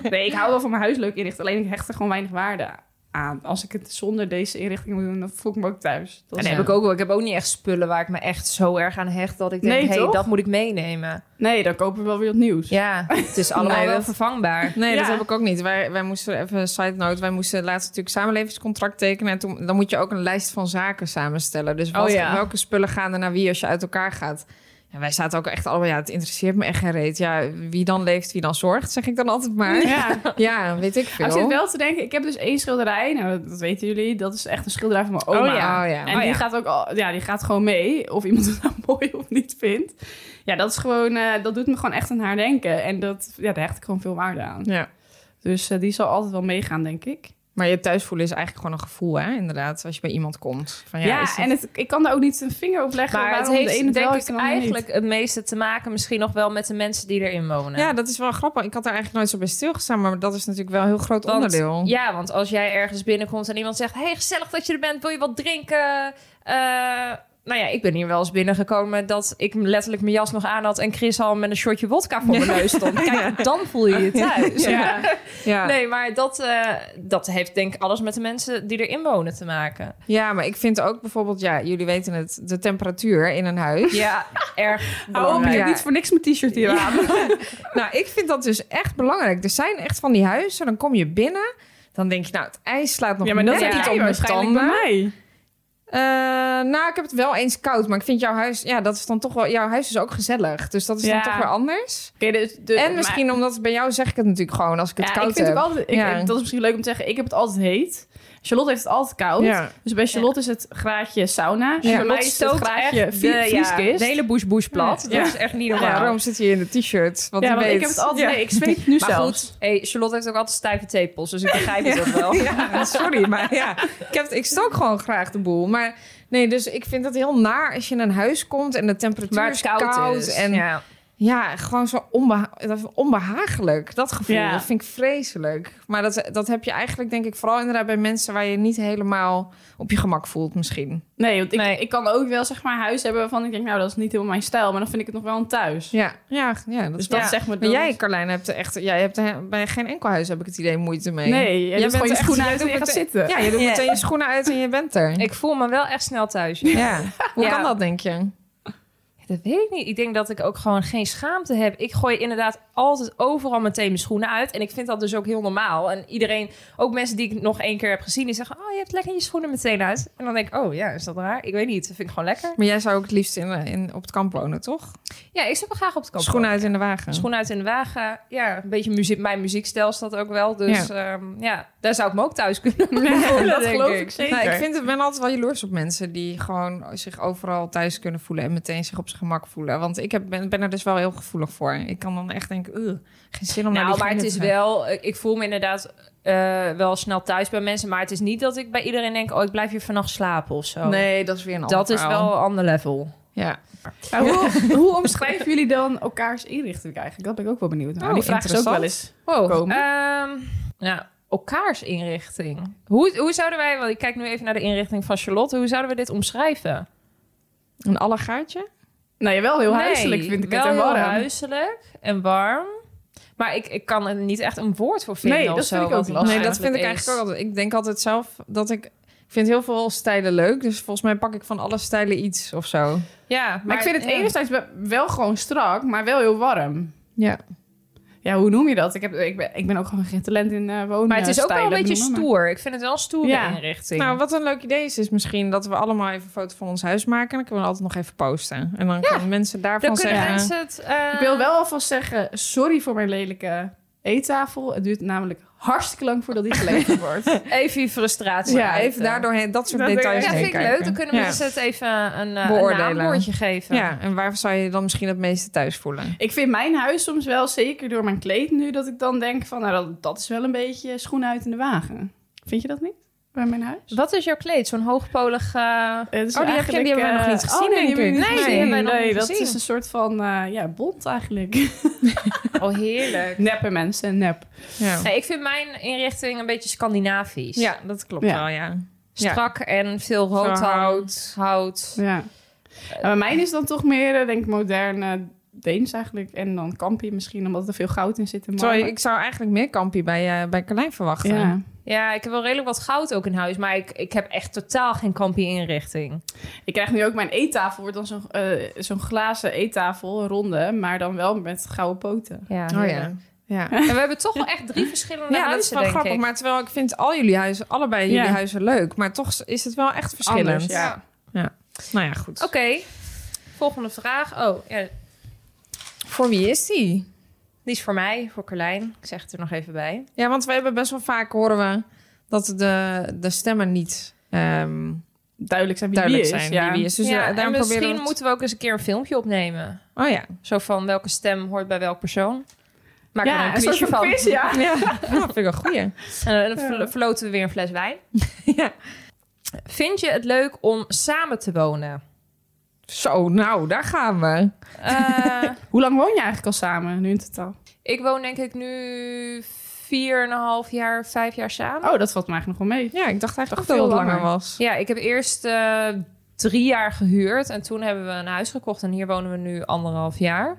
Nee, ik hou wel van mijn huis leuk inrichten. Alleen ik hecht er gewoon weinig waarde aan. Als ik het zonder deze inrichting moet doen, dan voel ik me ook thuis. Dat
En
is-
dat heb ik ook wel. Ik heb ook niet echt spullen waar ik me echt zo erg aan hecht dat ik denk,
Nee,
hé, hey,
toch?
dat moet ik meenemen.
Nee, dan kopen we wel weer wat nieuws.
Ja, het is allemaal
Nee,
wel
dat-
vervangbaar.
Nee, dat
Ja.
heb ik ook niet. Wij, wij moesten even side note. Wij moesten laatst natuurlijk samenlevingscontract tekenen. En toen, dan moet je ook een lijst van zaken samenstellen. Dus wat,
Oh ja.
welke spullen gaan er naar wie als je uit elkaar gaat. En wij zaten ook echt allemaal, ja, het interesseert me echt geen reet. Ja, wie dan leeft, wie dan zorgt, zeg ik dan altijd maar. Ja,
Ja.
weet ik
Maar
veel.
Ik zit wel te denken, ik heb dus één schilderij. Nou, dat- dat weten jullie. Dat is echt een schilderij van mijn oma.
Oh ja, oh ja.
En
Oh
die
ja.
gaat ook al, ja, die gaat gewoon mee. Of iemand het nou mooi of niet vindt. Ja, dat is gewoon, eh, dat doet me gewoon echt aan haar denken. En dat, ja, daar hecht ik gewoon veel waarde aan.
Ja.
Dus eh, die zal altijd wel meegaan, denk ik.
Maar je thuis voelen is eigenlijk gewoon een gevoel, hè? Inderdaad, als je bij iemand komt. Van, ja,
Ja,
is het-
en het, ik kan daar ook niet een vinger op leggen.
Maar het
waarom de
heeft
ene
denk
wel
ik
heeft en de ander niet.
eigenlijk het meeste te maken misschien nog wel met de mensen die erin wonen.
ja, dat is wel grappig. Ik had daar eigenlijk nooit zo bij stilgestaan, maar dat is natuurlijk wel een heel groot
Want-
onderdeel.
Ja, want als jij ergens binnenkomt en iemand zegt... hey, gezellig dat je er bent, wil je wat drinken? Eh, nou ja, ik ben hier wel eens binnengekomen... dat ik letterlijk mijn jas nog aan had... en Chris al met een shotje wodka voor mijn neus stond. Kijk, dan voel je je thuis.
Ja.
Ja.
Nee, maar dat, eh, dat heeft denk ik alles met de mensen die erin wonen te maken.
Ja, maar ik vind ook bijvoorbeeld, ja, jullie weten het, de temperatuur in een huis.
Ja, erg
Hou op, ik
belangrijk.
Ja.
heb niet voor niks mijn t-shirt hier aan.
Nou, ik vind dat dus echt belangrijk. Er zijn echt van die huizen, dan kom je binnen, dan denk je, nou, het ijs slaat nog net
heb
niet
jij
op mijn
waarschijnlijk bij
tanden.
mij.
Eh, nou, ik heb het wel eens koud, maar ik vind jouw huis, ja, dat is dan toch wel, jouw huis is ook gezellig, dus dat is
Ja.
dan toch weer anders.
Oké, dus de-
en misschien omdat het bij jou zeg ik het natuurlijk gewoon als ik het
maar- ja,
koud
ik vind
heb.
het ook altijd, ik,
Ja.
Dat is misschien leuk om te zeggen. Ik heb het altijd heet. Charlotte heeft het altijd koud.
Ja.
Dus bij Charlotte is het graadje sauna.
Ja.
Bij mij is het graadje
echt
vie-
de, ja,
vrieskist.
de hele bush bush plat.
Ja.
Dat is echt niet
Ja,
normaal.
daarom zit hij in de t-shirt, want
ja,
die
want
weet.
ik heb het altijd... Nee, ik zweet nu
maar
zelfs.
goed, hey, Charlotte heeft ook altijd stijve tepels, dus ik begrijp het ook wel.
Ja, sorry, maar ja, ik, heb, ik stook gewoon graag de boel. Maar nee, dus ik vind het heel naar als je in een huis komt en de temperatuur
Waar
is
het koud,
koud.
is.
en ja.
ja.
gewoon zo onbeha- dat- onbehagelijk, dat gevoel.
Ja.
Dat vind ik vreselijk. Maar dat, dat heb je eigenlijk, denk ik, vooral inderdaad bij mensen waar je niet helemaal op je gemak voelt misschien.
Nee, want ik,
Nee.
ik kan ook wel zeg maar huis hebben waarvan ik denk... Nou, dat is niet helemaal mijn stijl. Maar dan vind ik het nog wel een thuis.
Ja, ja, ja dat
Dus
is
dat
ja.
zeg maar...
Maar
dan-
jij, Carlijn, hebt er echt, jij hebt er bij geen enkel huis, heb ik het idee, moeite mee.
Nee, jij doet gewoon je
echt-
schoenen
jij
uit en
doet
je gaat
meteen-
zitten.
Ja, je doet
Ja.
meteen je schoenen uit en je bent er.
Ik voel me wel echt snel thuis. ja.
Ja, hoe
Ja.
kan dat, denk je?
Dat weet ik niet. Ik denk dat ik ook gewoon geen schaamte heb. Ik gooi inderdaad altijd overal meteen mijn schoenen uit. En ik vind dat dus ook heel normaal. En iedereen, ook mensen die ik nog één keer heb gezien, die zeggen: Oh, je hebt lekker je schoenen meteen uit. En dan denk ik: Oh ja, is dat raar? Ik weet niet. Dat vind ik gewoon lekker.
Maar jij zou ook het liefst in, eh, in, op het kamp wonen, toch?
Ja, ik zou wel graag op het kamp.
Schoenen uit in de wagen.
Schoen uit in de wagen. Ja, een beetje muziek, mijn muziekstijl is dat ook wel. Dus ja. ja, daar zou ik me ook thuis kunnen voelen,
dat
denk
geloof ik zeker.
Nou, ik vind het, ben altijd wel jaloers op mensen die gewoon zich overal thuis kunnen voelen en meteen zich op zijn gemak voelen. Want ik heb, ben, ben er dus wel heel gevoelig voor. Ik kan dan echt denken, "Ugh, geen zin om naar
Nou,
die
maar het
vrienden
is
te zijn."
wel... Ik voel me inderdaad eh, wel snel thuis bij mensen. Maar het is niet dat ik bij iedereen denk... oh, ik blijf hier vannacht slapen of zo.
Nee, dat is weer een ander
Dat is
verhaal.
wel een ander level.
Ja.
Maar hoe, hoe omschrijven jullie dan elkaars inrichting eigenlijk? Dat ben ik ook wel benieuwd naar.
Oh,
die Nou, vraag is ook wel eens.
Wow.
Komen.
Ehm, ja, elkaars inrichting. Hoe, hoe zouden wij... Want ik kijk nu even naar de inrichting van Charlotte. Hoe zouden we dit omschrijven?
Een allegaartje?
Nou, wel heel
Nee,
huiselijk vind ik
wel
het en
heel
warm.
huiselijk en warm. Maar ik, ik kan er niet echt een woord voor vinden
Nee,
of
dat
zo,
vind ik
wat
ook
het
lastig.
Nee, dat vind ik
is.
eigenlijk ook altijd. Ik denk altijd zelf dat ik... Ik vind heel veel stijlen leuk, dus volgens mij pak ik van alle stijlen iets of zo.
Ja, eh, maar,
Maar, ik vind het
ja.
enerzijds wel- wel gewoon strak, maar wel heel warm.
Ja.
Ja, ja, hoe noem je dat? Ik, heb, ik, ben, ik ben ook gewoon geen talent in eh wonen.
Maar het is ook wel een
stijlen
beetje
noemen, maar-
stoer. Ik vind het wel een stoere
Ja.
inrichting.
Nou, wat een leuk idee is, is misschien dat we allemaal even een foto van ons huis maken. En dan kunnen we altijd nog even posten. En dan kunnen mensen daarvan
dan kunnen
zeggen...
mensen het... eh,
Ik wil wel alvast zeggen, sorry voor mijn lelijke eettafel. Het duurt namelijk hartstikke lang voordat die geleverd wordt.
Even je frustratie
Ja,
uiten.
even daardoorheen, dat soort
Dat denk ik-
details
Ja,
heen
vind ik
kijken.
leuk. Dan kunnen
Ja.
mensen het even een, eh een
Beoordelen.
naamwoordje geven.
Ja, en waar zou je je dan misschien het meeste thuis voelen?
ik vind mijn huis soms wel, zeker door mijn kleed nu, dat ik dan denk van, nou, dat, dat is wel een beetje schoen uit in de wagen. Vind je dat niet? Bij mijn huis?
Wat is jouw kleed? Zo'n hoogpolig... eh,
Het is
Oh, die heb je- die hebben wij
eigenlijk,
nog niet
eh,
gezien,
oh, nee,
denk
die hebben
ik.
we niet
Nee, die
gezien.
hebben wij nog
Nee,
niet
dat
gezien.
is een soort van, eh, ja, bont eigenlijk.
Oh, heerlijk.
Neppen mensen, nep.
Ja,
Nee, ik vind mijn inrichting een beetje Scandinavisch.
ja dat klopt
Ja.
wel, ja. Ja.
Strak en veel rood
Veel
hout. hout.
Ja. En bij mij is dan toch meer, eh, denk ik, modern eh, Deens eigenlijk. En dan Kampi misschien, omdat er veel goud in zit. in
Sorry,
marmer.
ik zou eigenlijk meer kampie bij, eh bij Carlijn verwachten.
Ja.
Ja, ik heb wel redelijk wat goud ook in huis. Maar ik, ik heb echt totaal geen kampie inrichting.
Ik krijg nu ook mijn eettafel, wordt dan zo'n eh, zo'n glazen eettafel, een ronde, maar dan wel met gouden poten.
Ja,
Oh ja.
heerlijk.
Ja,
En we hebben toch wel echt drie verschillende
ja dat is
huizen,
wel
denk
grappig.
ik.
Maar terwijl ik vind al jullie huizen, allebei jullie
Ja.
huizen leuk. Maar toch is het wel echt verschillend.
Anders, ja.
Nou ja, goed.
Oké, volgende vraag. Oh, ja,
Voor wie is die?
die is voor mij, voor Carlijn. Ik zeg het er nog even bij.
Ja, want we hebben best wel vaak horen we dat de, de stemmen niet ehm,
Duidelijk zijn wie
duidelijk
die is.
zijn.
ja.
Wie wie is. Dus
ja,
ja,
en
daarom proberen we
misschien
het-
moeten we ook eens een keer een filmpje opnemen.
Oh ja.
Zo van welke stem hoort bij welk persoon. Maak
Ja,
er
een
een
soort
quizje
van
van.
quiz, ja.
Ja, dat vind ik een goeie.
En eh, dan verlo- verloten we weer een fles wijn.
Ja.
Vind je het leuk om samen te wonen?
Zo, nou, daar gaan we.
Eh,
Hoe lang woon je eigenlijk al samen, nu in totaal?
ik woon denk ik nu 4,5 jaar, 5 jaar samen.
Oh, dat valt me eigenlijk nog wel mee.
Ja, ik dacht eigenlijk
Toch
dat het
veel
langer,
langer.
was.
Ja, ik heb eerst eh, drie jaar gehuurd en toen hebben we een huis gekocht en hier wonen we nu anderhalf jaar.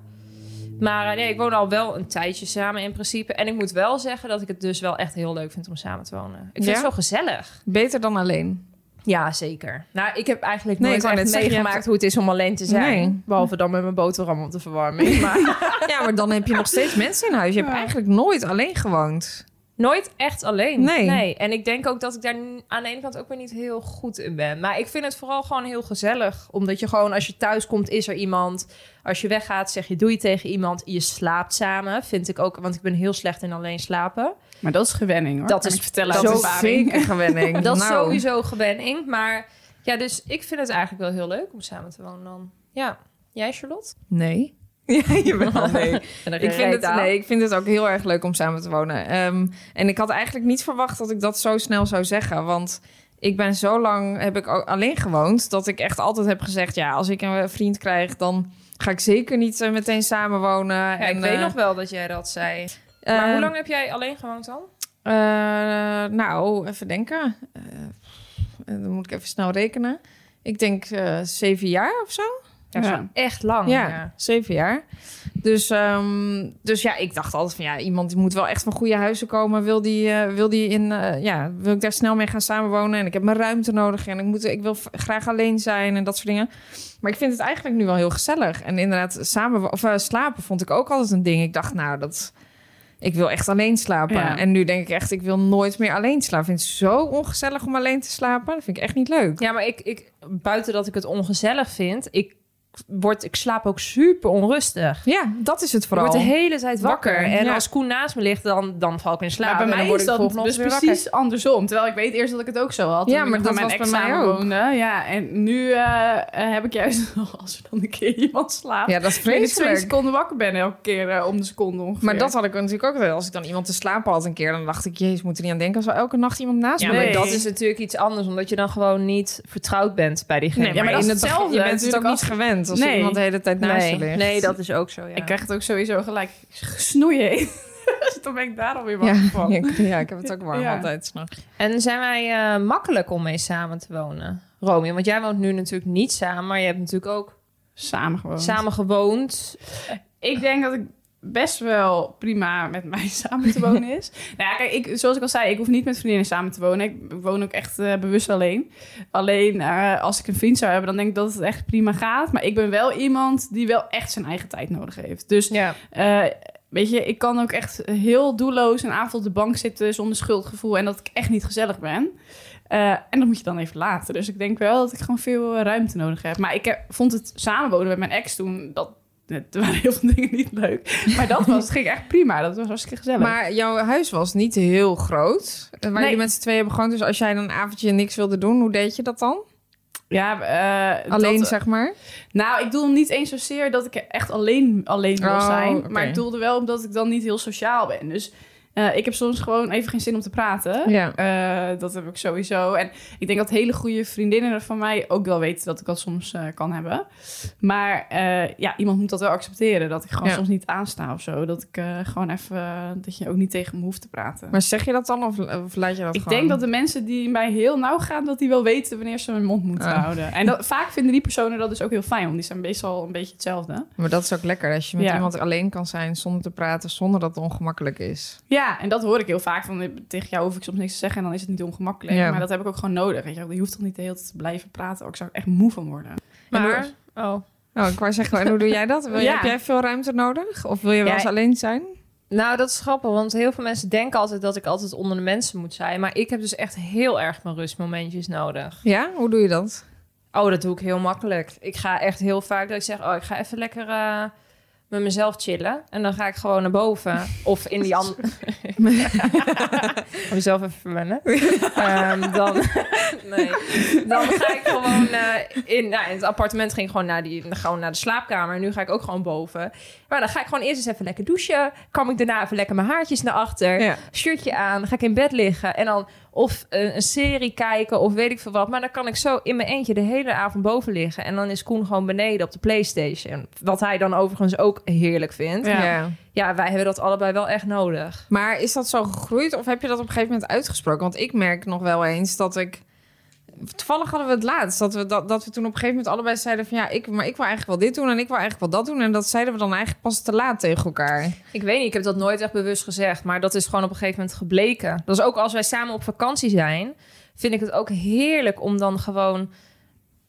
Maar eh, nee, ik woon al wel een tijdje samen in principe. En ik moet wel zeggen dat ik het dus wel echt heel leuk vind om samen te wonen. Ik vind
Ja?
het zo gezellig.
Beter dan alleen.
Ja, zeker. Nou, ik heb eigenlijk
Nee,
nooit
ik wou
echt
net zeggen, je
meegemaakt
hebt-
hoe het is om alleen te zijn.
Nee.
Behalve dan met mijn boterham op de verwarming. Maar
Ja, maar dan heb je nog steeds mensen in huis. Je hebt eigenlijk nooit alleen gewoond.
Nooit echt alleen.
Nee.
En ik denk ook dat ik daar n- aan de ene kant ook weer niet heel goed in ben. Maar ik vind het vooral gewoon heel gezellig. Omdat je gewoon, als je thuis komt, is er iemand. Als je weggaat, zeg je doei tegen iemand. Je slaapt samen, vind ik ook. Want ik ben heel slecht in alleen slapen.
Maar dat is gewenning hoor.
Dat
Kan
is-
ik vertellen
dat
uit
is
ervaring.
Een gewenning.
Dat is
Nou,
sowieso gewenning. Maar ja, dus ik vind het eigenlijk wel heel leuk om samen te wonen dan. Ja. Jij, Charlotte?
Nee. Ja, jawel, nee. Ik vind, het,
leuk.
nee, ik vind het ook heel erg leuk om samen te wonen. Ehm, en ik had eigenlijk niet verwacht dat ik dat zo snel zou zeggen. Want ik ben zo lang, heb ik ook alleen gewoond... dat ik echt altijd heb gezegd... ja, als ik een eh, vriend krijg, dan ga ik zeker niet eh, meteen samen wonen.
Ja, ik
eh,
weet nog wel dat jij dat zei.
Ehm,
Maar hoe lang heb jij alleen gewoond dan?
nou, even denken. Eh, dan moet ik even snel rekenen. Ik denk eh, zeven jaar of zo.
Ja, dat is
Ja.
wel echt lang.
Oh, Ja,
ja.
zeven jaar. Dus, ehm, dus ja, ik dacht altijd van ja, iemand die moet wel echt van goede huizen komen. Wil die, eh, wil die in, eh, ja, wil ik daar snel mee gaan samenwonen? En ik heb mijn ruimte nodig en ik, moet, ik wil v- graag alleen zijn en dat soort dingen. Maar ik vind het eigenlijk nu wel heel gezellig. En inderdaad, samen, of, eh, slapen vond ik ook altijd een ding. Ik dacht, nou, dat. Ik wil echt alleen slapen.
Ja.
En nu denk ik echt, ik wil nooit meer alleen slapen. Ik vind het zo ongezellig om alleen te slapen. Dat vind ik echt niet leuk.
Ja, maar ik, ik, buiten dat ik het ongezellig vind, ik, word, ik slaap ook super onrustig.
Ja, dat is het
Ik
vooral.
word de hele tijd wakker.
Wakker,
en
ja.
als Koen naast me ligt, dan, dan val ik in slaap.
Maar bij
en dan
mij
word
is
ik de
dat
volgende
dus
ochtend weer
precies andersom. Terwijl ik weet eerst dat ik het ook zo had.
Ja,
toen ik
maar
nog
dat was bij
ex
mij
samen
ook.
woonde. Ja, en nu eh, eh, heb ik juist als er dan een keer iemand slaapt.
Ja, dat is
dat ik twee
vreselijk.
seconden wakker ben elke keer eh, om de seconde ongeveer.
Maar dat had ik natuurlijk ook altijd. Als ik dan iemand te slapen had een keer, dan dacht ik, jezus, moet er niet aan denken als wel elke nacht iemand naast
Ja,
me
maar
Nee.
ligt.
dat is natuurlijk iets anders, omdat je dan gewoon niet vertrouwd bent bij diegene.
Nee, maar dat is
in het begin-
hetzelfde
Je bent het ook
natuurlijk
niet gewend als
Nee.
er iemand de hele tijd naast je
nee,
ligt.
nee, dat is ook zo. Ja.
Ik krijg het ook sowieso gelijk snoeien. dus dan ben ik daar alweer
ja,
wakker van.
ik, ja, ik heb het ook warm
Ja.
altijd. s'nachts.
En zijn wij eh, makkelijk om mee samen te wonen, Romeo? Want jij woont nu natuurlijk niet samen, maar je hebt natuurlijk ook
Samen gewoon.
samen gewoond.
Ik denk dat ik best wel prima met mij samen te wonen is. nou ja, kijk, ik, zoals ik al zei, ik hoef niet met vriendinnen samen te wonen. Ik woon ook echt eh, bewust alleen. Alleen eh, als ik een vriend zou hebben, dan denk ik dat het echt prima gaat. Maar ik ben wel iemand die wel echt zijn eigen tijd nodig heeft. Dus
Ja.
eh, Weet je, ik kan ook echt heel doelloos een avond op de bank zitten zonder schuldgevoel en dat ik echt niet gezellig ben. Eh, en dat moet je dan even laten. Dus ik denk wel dat ik gewoon veel eh, ruimte nodig heb. Maar ik heb- vond het samenwonen met mijn ex toen, dat, het waren heel veel dingen niet leuk. Maar dat was, het ging echt prima. Dat was hartstikke gezellig.
Maar jouw huis was niet heel groot. eh, Waar
Nee.
jullie met z'n tweeën hebben gewoond. Dus als jij dan een avondje niks wilde doen, hoe deed je dat dan?
ja, eh,
Alleen,
dat-
zeg maar.
Nou, ik doelde niet eens zozeer dat ik echt alleen, alleen wil
Oh,
zijn.
oké.
Maar ik doelde wel omdat ik dan niet heel sociaal ben. Dus eh, ik heb soms gewoon even geen zin om te praten.
Ja.
Eh, dat heb ik sowieso. En ik denk dat hele goede vriendinnen van mij ook wel weten dat ik dat soms eh, kan hebben. Maar eh, ja, iemand moet dat wel accepteren. Dat ik gewoon
Ja.
soms niet aansta of zo. Dat ik eh, gewoon even... dat je ook niet tegen me hoeft te praten.
Maar zeg je dat dan of, of laat je dat
ik
gewoon?
denk dat de mensen die mij heel nauw gaan... dat die wel weten wanneer ze hun mond moeten
Ah.
houden. En dat, vaak vinden die personen dat dus ook heel fijn. Want die zijn meestal een beetje hetzelfde.
Maar dat is ook lekker, als je met
Ja.
iemand alleen kan zijn zonder te praten, zonder dat het ongemakkelijk is.
Ja, en dat hoor ik heel vaak. Van, eh, tegen jou hoef ik soms niks te zeggen en dan is het niet ongemakkelijk.
Ja.
Maar dat heb ik ook gewoon nodig. Weet je, wel. je hoeft toch niet de hele tijd te blijven praten. Oh, ik zou er echt moe van worden.
Maar, oh.
Nou, ik wou zeggen, en hoe doe jij dat? Wil je-
Ja.
Heb jij veel ruimte nodig? Of wil je wel
Ja,
eens alleen zijn?
Nou, dat is grappig, want heel veel mensen denken altijd dat ik altijd onder de mensen moet zijn. Maar ik heb dus echt heel erg mijn rustmomentjes nodig.
Ja, hoe doe je dat?
Oh, dat doe ik heel makkelijk. Ik ga echt heel vaak dat ik zeg, oh, ik ga even lekker eh, met mezelf chillen. En dan ga ik gewoon naar boven. Of in die andere... Om mezelf even verwennen. Ehm, dan... nee. Dan ga ik gewoon eh, in, nou, in het appartement ging ik gewoon naar, die, gewoon naar de slaapkamer. En nu ga ik ook gewoon boven. Maar dan ga ik gewoon eerst eens even lekker douchen. Kam ik daarna even lekker mijn haartjes naar achter
Ja.
shirtje aan, ga ik in bed liggen en dan of een, een serie kijken of weet ik veel wat. Maar dan kan ik zo in mijn eentje de hele avond boven liggen en dan is Koen gewoon beneden op de PlayStation. Wat hij dan overigens ook heerlijk vindt. Ja,
Ja.
wij hebben dat allebei wel echt nodig.
Maar is dat zo gegroeid of heb je dat op een gegeven moment uitgesproken? Want ik merk nog wel eens dat ik... Toevallig hadden we het laatst. Dat we, dat, dat we toen op een gegeven moment allebei zeiden van... Ja, ik, maar ik wil eigenlijk wel dit doen en ik wil eigenlijk wel dat doen. En dat zeiden we dan eigenlijk pas te laat tegen elkaar.
Ik weet niet, ik heb dat nooit echt bewust gezegd, maar dat is gewoon op een gegeven moment gebleken. Dat is ook als wij samen op vakantie zijn, vind ik het ook heerlijk om dan gewoon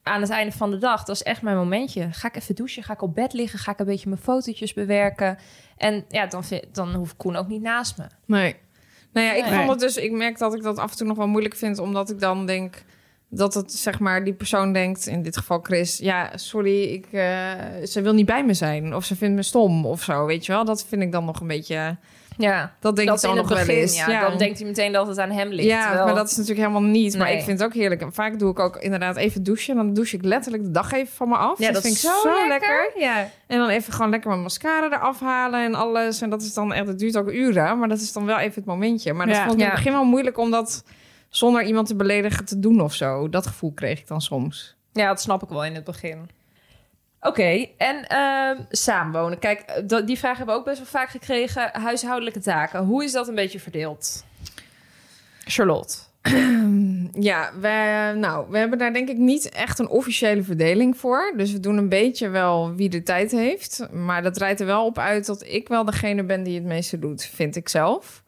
aan het einde van de dag, dat is echt mijn momentje. Ga ik even douchen, ga ik op bed liggen, ga ik een beetje mijn fotootjes bewerken. En ja, dan, vind- dan hoeft Koen ook niet naast me.
Nee. Nou ja, ik
Nee.
vond het dus... Ik merk dat ik dat af en toe nog wel moeilijk vind. Omdat ik dan denk dat het, zeg maar, die persoon denkt... In dit geval Chris. Ja, sorry, ik, eh, ze wil niet bij me zijn. Of ze vindt me stom of zo, weet je wel. Dat vind ik dan nog een beetje...
Ja,
Dat denk
dat
ik dan
in het
nog wel
begin.
eens.
Ja, Dan denkt hij meteen dat het aan hem ligt.
Ja,
terwijl-
maar dat is natuurlijk helemaal niet. Maar
Nee.
ik vind het ook heerlijk. En vaak doe ik ook inderdaad even douchen. Dan douche ik letterlijk de dag even van me af.
ja,
dat,
dat
vind
is
ik zo lekker.
Ja.
En dan even gewoon lekker mijn mascara eraf halen en alles. En dat is dan echt, het duurt ook uren. Maar dat is dan wel even het momentje. Maar dat
Ja.
vond ik in
Ja.
het begin wel moeilijk om dat zonder iemand te beledigen te doen of zo. Dat gevoel kreeg ik dan soms.
ja, dat snap ik wel in het begin. Oké, en ehm, samenwonen. Kijk, eh, dat- die vraag hebben we ook best wel vaak gekregen. Huishoudelijke taken. Hoe is dat een beetje verdeeld? Charlotte.
Ja, we, nou, we hebben daar denk ik niet echt een officiële verdeling voor. Dus we doen een beetje wel wie de tijd heeft. Maar dat rijdt er wel op uit dat ik wel degene ben die het meeste doet, vind ik zelf.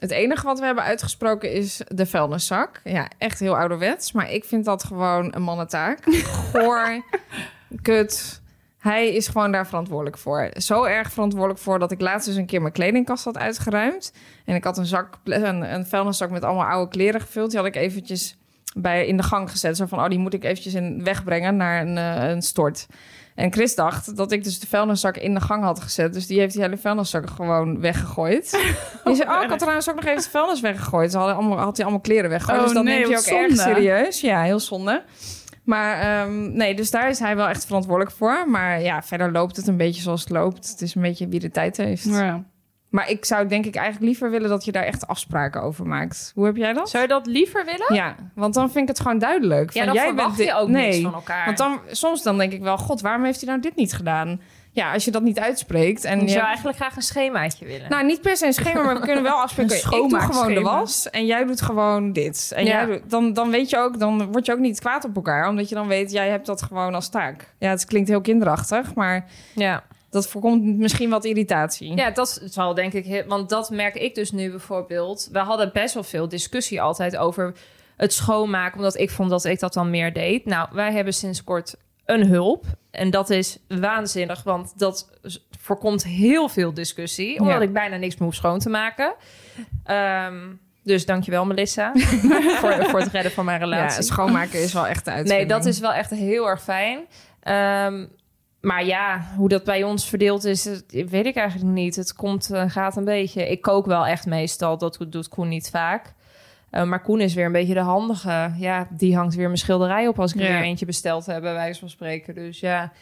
Het enige wat we hebben uitgesproken is de vuilniszak. Ja, echt heel ouderwets. Maar ik vind dat gewoon een mannentaak. Goor, kut. Hij is gewoon daar verantwoordelijk voor. Zo erg verantwoordelijk voor dat ik laatst dus een keer mijn kledingkast had uitgeruimd. En ik had een, zak, een, een vuilniszak met allemaal oude kleren gevuld. Die had ik eventjes bij, in de gang gezet. Zo van, oh, die moet ik eventjes in, wegbrengen naar een, eh, een stort. En Chris dacht dat ik dus de vuilniszak in de gang had gezet. Dus die heeft die hele vuilniszak gewoon weggegooid. Die zei, oh, ik had trouwens ook nog even de vuilnis weggegooid. Ze hadden allemaal, had hij allemaal kleren weggegooid.
Oh
dus dat
nee,
neemt hij ook
wat
erg
zonde.
serieus. Ja, heel zonde. Maar ehm, nee, dus daar is hij wel echt verantwoordelijk voor. Maar ja, verder loopt het een beetje zoals het loopt. Het is een beetje wie de tijd heeft.
Ja.
Maar ik zou denk ik eigenlijk liever willen dat je daar echt afspraken over maakt. Hoe heb jij dat?
Zou je dat liever willen?
Ja, want dan vind ik het gewoon duidelijk.
Ja,
Van,
dan
jij
verwacht
bent
je
dit-
ook
nee.
niks van elkaar.
Want dan, soms dan denk ik wel, god, waarom heeft hij nou dit niet gedaan? Ja, als je dat niet uitspreekt. En
Je
je-
zou eigenlijk graag een schemaatje willen.
Nou, niet per se een schema, maar we kunnen wel afspreken.
Een
Ik doe gewoon de
schoonmaakschema.
was en jij doet gewoon dit. En
Ja.
jij doet- dan, dan weet je ook, dan word je ook niet kwaad op elkaar. Omdat je dan weet, jij hebt dat gewoon als taak. Ja, het klinkt heel kinderachtig, maar
ja.
dat voorkomt misschien wat irritatie.
Ja, dat is wel denk ik. heel- Want dat merk ik dus nu bijvoorbeeld. We hadden best wel veel discussie altijd over het schoonmaken. Omdat ik vond dat ik dat dan meer deed. Nou, wij hebben sinds kort een een hulp. En dat is waanzinnig, want dat s- voorkomt heel veel discussie. Omdat
Ja.
ik bijna niks meer hoef schoon te maken. Ehm, dus dankjewel Melissa voor, voor het redden van mijn relatie.
Ja, schoonmaken is wel echt uit.
Nee, dat is wel echt heel erg fijn. Ehm, maar ja, hoe dat bij ons verdeeld is, dat weet ik eigenlijk niet. Het komt en gaat een beetje. Ik kook wel echt meestal. Dat doet Koen niet vaak. Eh, maar Koen is weer een beetje de handige. Ja, die hangt weer mijn schilderij op als ik er
Ja.
weer eentje besteld heb, bij wijze van spreken. Dus ja,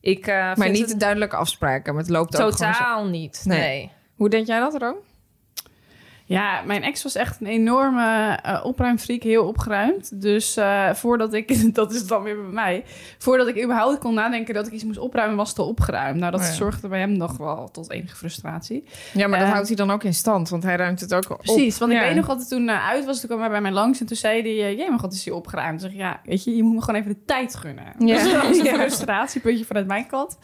ik. eh,
Maar
vind
niet
het
duidelijke afspraken, maar het loopt ook gewoon zo.
totaal niet.
Nee.
Nee.
Hoe denk jij dat, Room?
Ja, mijn ex was echt een enorme eh opruimfreak, heel opgeruimd. Dus eh, voordat ik, dat is het dan weer bij mij, voordat ik überhaupt kon nadenken dat ik iets moest opruimen, was het al opgeruimd. Nou, dat
Oh ja.
zorgde bij hem nog wel tot enige frustratie.
Ja, maar dat
Eh,
houdt hij dan ook in stand, want hij ruimt het ook op.
Precies, want ik
Ja.
weet nog altijd toen eh, uit was, toen kwam hij bij mij langs en toen zei hij, eh, jee, maar god, is hij opgeruimd? Toen zeg ik, ja, weet je, je moet me gewoon even de tijd gunnen.
Ja.
Dus dat was een frustratiepuntje vanuit mijn kant.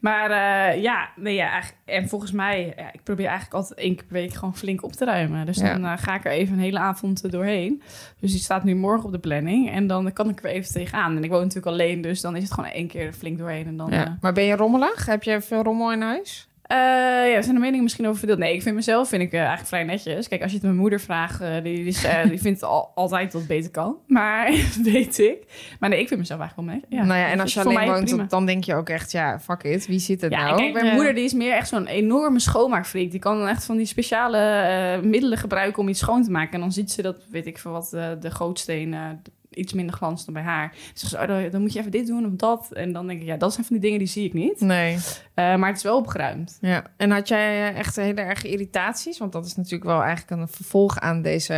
Maar eh, ja, nee, ja, eigenlijk- en volgens mij, ja, ik probeer eigenlijk altijd één keer per week gewoon flink op te ruimen. Dus
Ja.
dan eh, ga ik er even een hele avond eh, doorheen. Dus die staat nu morgen op de planning en dan kan ik er even tegenaan. En ik woon natuurlijk alleen, dus dan is het gewoon één keer flink doorheen en dan... eh,
Ja. Maar ben je rommelig? Heb je veel rommel in huis?
eh, ja, er zijn de meningen misschien over verdeeld. Nee, ik vind mezelf vind ik, eh, eigenlijk vrij netjes. Kijk, als je het mijn moeder vraagt, eh, die, die, is, eh, die vindt al, altijd dat het beter kan. Maar weet ik. Maar nee, ik vind mezelf eigenlijk wel netjes. Ja,
nou ja, en als je
Voor
alleen
mij
woont,
prima.
dan- dan denk je ook echt, ja, fuck it, wie ziet het
Ja,
nou?
kijk, mijn
Ja.
moeder die is meer echt zo'n enorme schoonmaakfreak. Die kan dan echt van die speciale eh, middelen gebruiken om iets schoon te maken. En dan ziet ze dat, weet ik veel wat, eh, de gootsteen eh, iets minder glans dan bij haar. Ze zegt, ze, oh, dan- dan moet je even dit doen of dat. En dan denk ik, ja, dat zijn van die dingen die zie ik niet.
Nee.
Eh, maar het is wel opgeruimd.
Ja. En had jij eh, echt hele erge irritaties? Want dat is natuurlijk wel eigenlijk een vervolg aan deze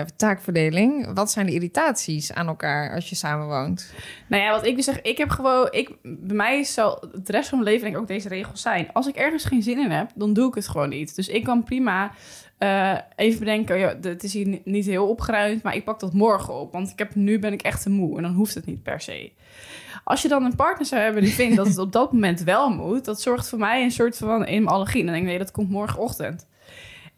taakverdeling. Wat zijn de irritaties aan elkaar als je samen woont?
Nou ja, wat ik dus zeg, ik heb gewoon, ik, bij mij zal het rest van mijn leven denk ik ook deze regels zijn. Als ik ergens geen zin in heb, dan doe ik het gewoon niet. Dus ik kan prima eh, even bedenken, oh ja, d- het is hier ni- niet heel opgeruimd, maar ik pak dat morgen op. Want ik heb, nu ben ik echt te moe en dan hoeft het niet per se. Als je dan een partner zou hebben die vindt dat het op dat moment wel moet, dat zorgt voor mij een soort van in allergie. Dan denk ik, nee, dat komt morgenochtend.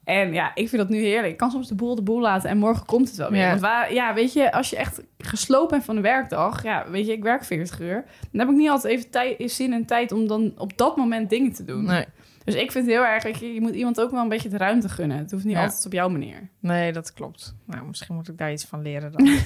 En ja, ik vind dat nu heerlijk. Ik kan soms de boel de boel laten en morgen komt het wel weer.
Ja.
Want waar, ja, weet je, als je echt gesloopt bent van de werkdag, ja, weet je, ik werk 40 uur, dan heb ik niet altijd even tij- zin en tijd om dan op dat moment dingen te doen.
Nee.
Dus ik vind het heel erg, weet je, je moet iemand ook wel een beetje de ruimte gunnen. Het hoeft niet
Ja.
altijd op jouw manier.
Nee, dat klopt. Nou, misschien moet ik daar iets van leren dan.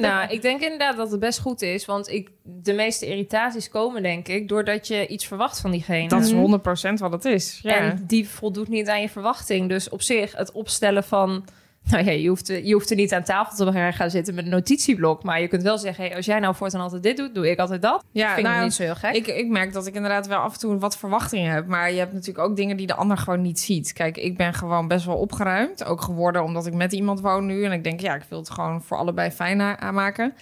nou, ik denk inderdaad dat het best goed is. Want ik, de meeste irritaties komen, denk ik, doordat je iets verwacht van diegene.
Dat is 100% wat het is. Ja.
En die voldoet niet aan je verwachting. Dus op zich, het opstellen van. Nou ja, je hoeft, je hoeft er niet aan tafel te gaan zitten met een notitieblok. Maar je kunt wel zeggen: hey, als jij nou voortaan altijd dit doet, doe ik altijd dat.
ja,
Vind ik
nou,
niet zo heel gek.
ik, ik merk dat ik inderdaad wel af en toe wat verwachtingen heb. Maar je hebt natuurlijk ook dingen die de ander gewoon niet ziet. Kijk, ik ben gewoon best wel opgeruimd. Ook geworden omdat ik met iemand woon nu. En ik denk, ja, ik wil het gewoon voor allebei fijn a- aanmaken.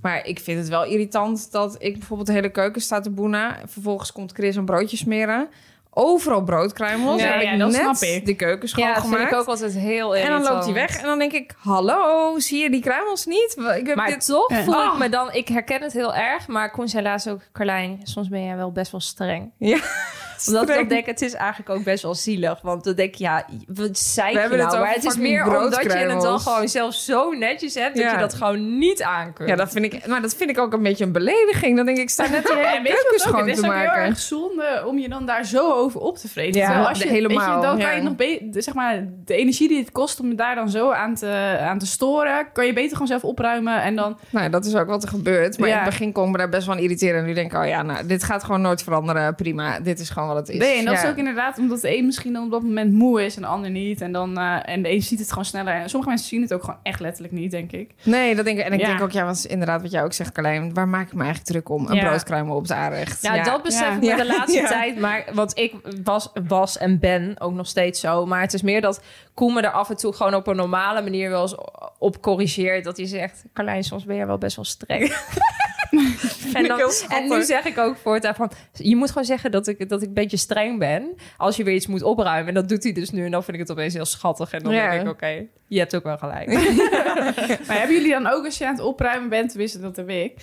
Maar ik vind het wel irritant dat ik bijvoorbeeld de hele keuken sta te boenen. Vervolgens komt Chris een broodje smeren. Overal broodkruimels.
Ja,
Dan heb
ja,
ik
dat
net
snap ik.
de keuken
ja, dat
schoongemaakt.
vind ik ook altijd heel
en dan
irritant.
loopt hij weg. En dan denk ik, hallo, zie je die kruimels niet? Ik heb
Maar
dit... Oh.
toch
Eh.
voel ik me dan... Ik herken het heel erg, maar Koen zei laatst ook... Carlijn, soms ben jij wel best wel streng.
Ja,
Omdat
streng.
ik dan denk, het is eigenlijk ook best wel zielig. Want dan denk ik, ja, wat zei
We
je
hebben
nou?
het over
maar het is
fucking
meer omdat je het dan
broodkruimels.
gewoon zelf zo netjes hebt... dat
Ja.
je dat gewoon niet aan kunt.
Ja, dat vind ik, maar dat vind ik ook een beetje een belediging. Dan denk ik, ik sta net de hele
En weet je
keuken
wat ook?
schoon
Het
te
is ook heel
maken.
erg zonde om je dan daar zo over op te vreten.
Ja,
Terwijl als
de-
je,
helemaal,
Weet je, dan kan
ja.
je nog be- de- zeg maar, de energie die het kost om je daar dan zo aan te, aan te storen, kan je beter gewoon zelf opruimen en dan...
Nou, dat is ook wat er gebeurt. Maar
Ja.
in het begin kon ik me daar best wel aan irriteren. En nu denk ik, oh ja, nou, dit gaat gewoon nooit veranderen. Prima, dit is gewoon wat het is.
Nee, en dat
Ja.
is ook inderdaad omdat de een misschien dan op dat moment moe is en de ander niet. En, dan, eh, en de een ziet het gewoon sneller. En sommige mensen zien het ook gewoon echt letterlijk niet, denk ik.
Nee, dat denk ik. En ik
Ja.
denk ook, ja, was inderdaad wat jij ook zegt, Carlijn. Waar maak ik me eigenlijk druk om? Een
Ja.
broodkruimel op het aanrecht.
Nou,
ja.
dat besef
Ja.
ik me
Ja.
de laatste
Ja.
tijd. Maar, want ik was, was en ben ook nog steeds zo. Maar het is meer dat Koen me er af en toe gewoon op een normale manier wel eens op corrigeert. Dat hij zegt, Carlijn, soms ben jij wel best wel streng. en, dan, en nu zeg ik ook voortaan van... Je moet gewoon zeggen dat ik, dat ik een beetje streng ben... als je weer iets moet opruimen. En dat doet hij dus nu. En dan vind ik het opeens heel schattig. En dan
Ja.
denk ik, oké, je hebt ook wel gelijk.
Maar hebben jullie dan ook als je aan het opruimen bent, tenminste dat heb ik.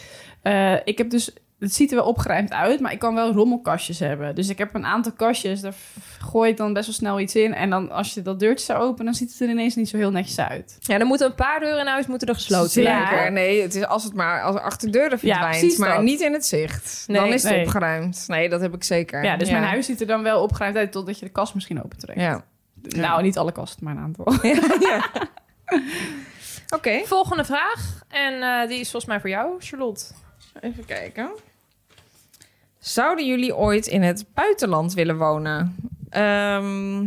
eh, ik heb dus het ziet er wel opgeruimd uit, maar ik kan wel rommelkastjes hebben. Dus ik heb een aantal kastjes, daar f- gooi ik dan best wel snel iets in. En dan als je dat deurtje zou openen, dan ziet het er ineens niet zo heel netjes uit.
Ja, dan moeten een paar deuren in huis moeten er gesloten
Ja.
blijven.
Zeker. Oh, Nee, het is als het maar als achterdeuren verdwijnt,
precies
maar
dat.
niet in het zicht.
Nee,
dan is het
nee.
opgeruimd. Nee, dat heb ik zeker.
Ja, dus mijn huis ziet er dan wel opgeruimd uit totdat je de kast misschien opentrekt.
Ja.
Nou, niet alle kasten, maar een aantal.
Oké,
Volgende vraag. En eh, die is volgens mij voor jou, Charlotte.
even kijken. Zouden jullie ooit in het buitenland willen wonen? Ehm,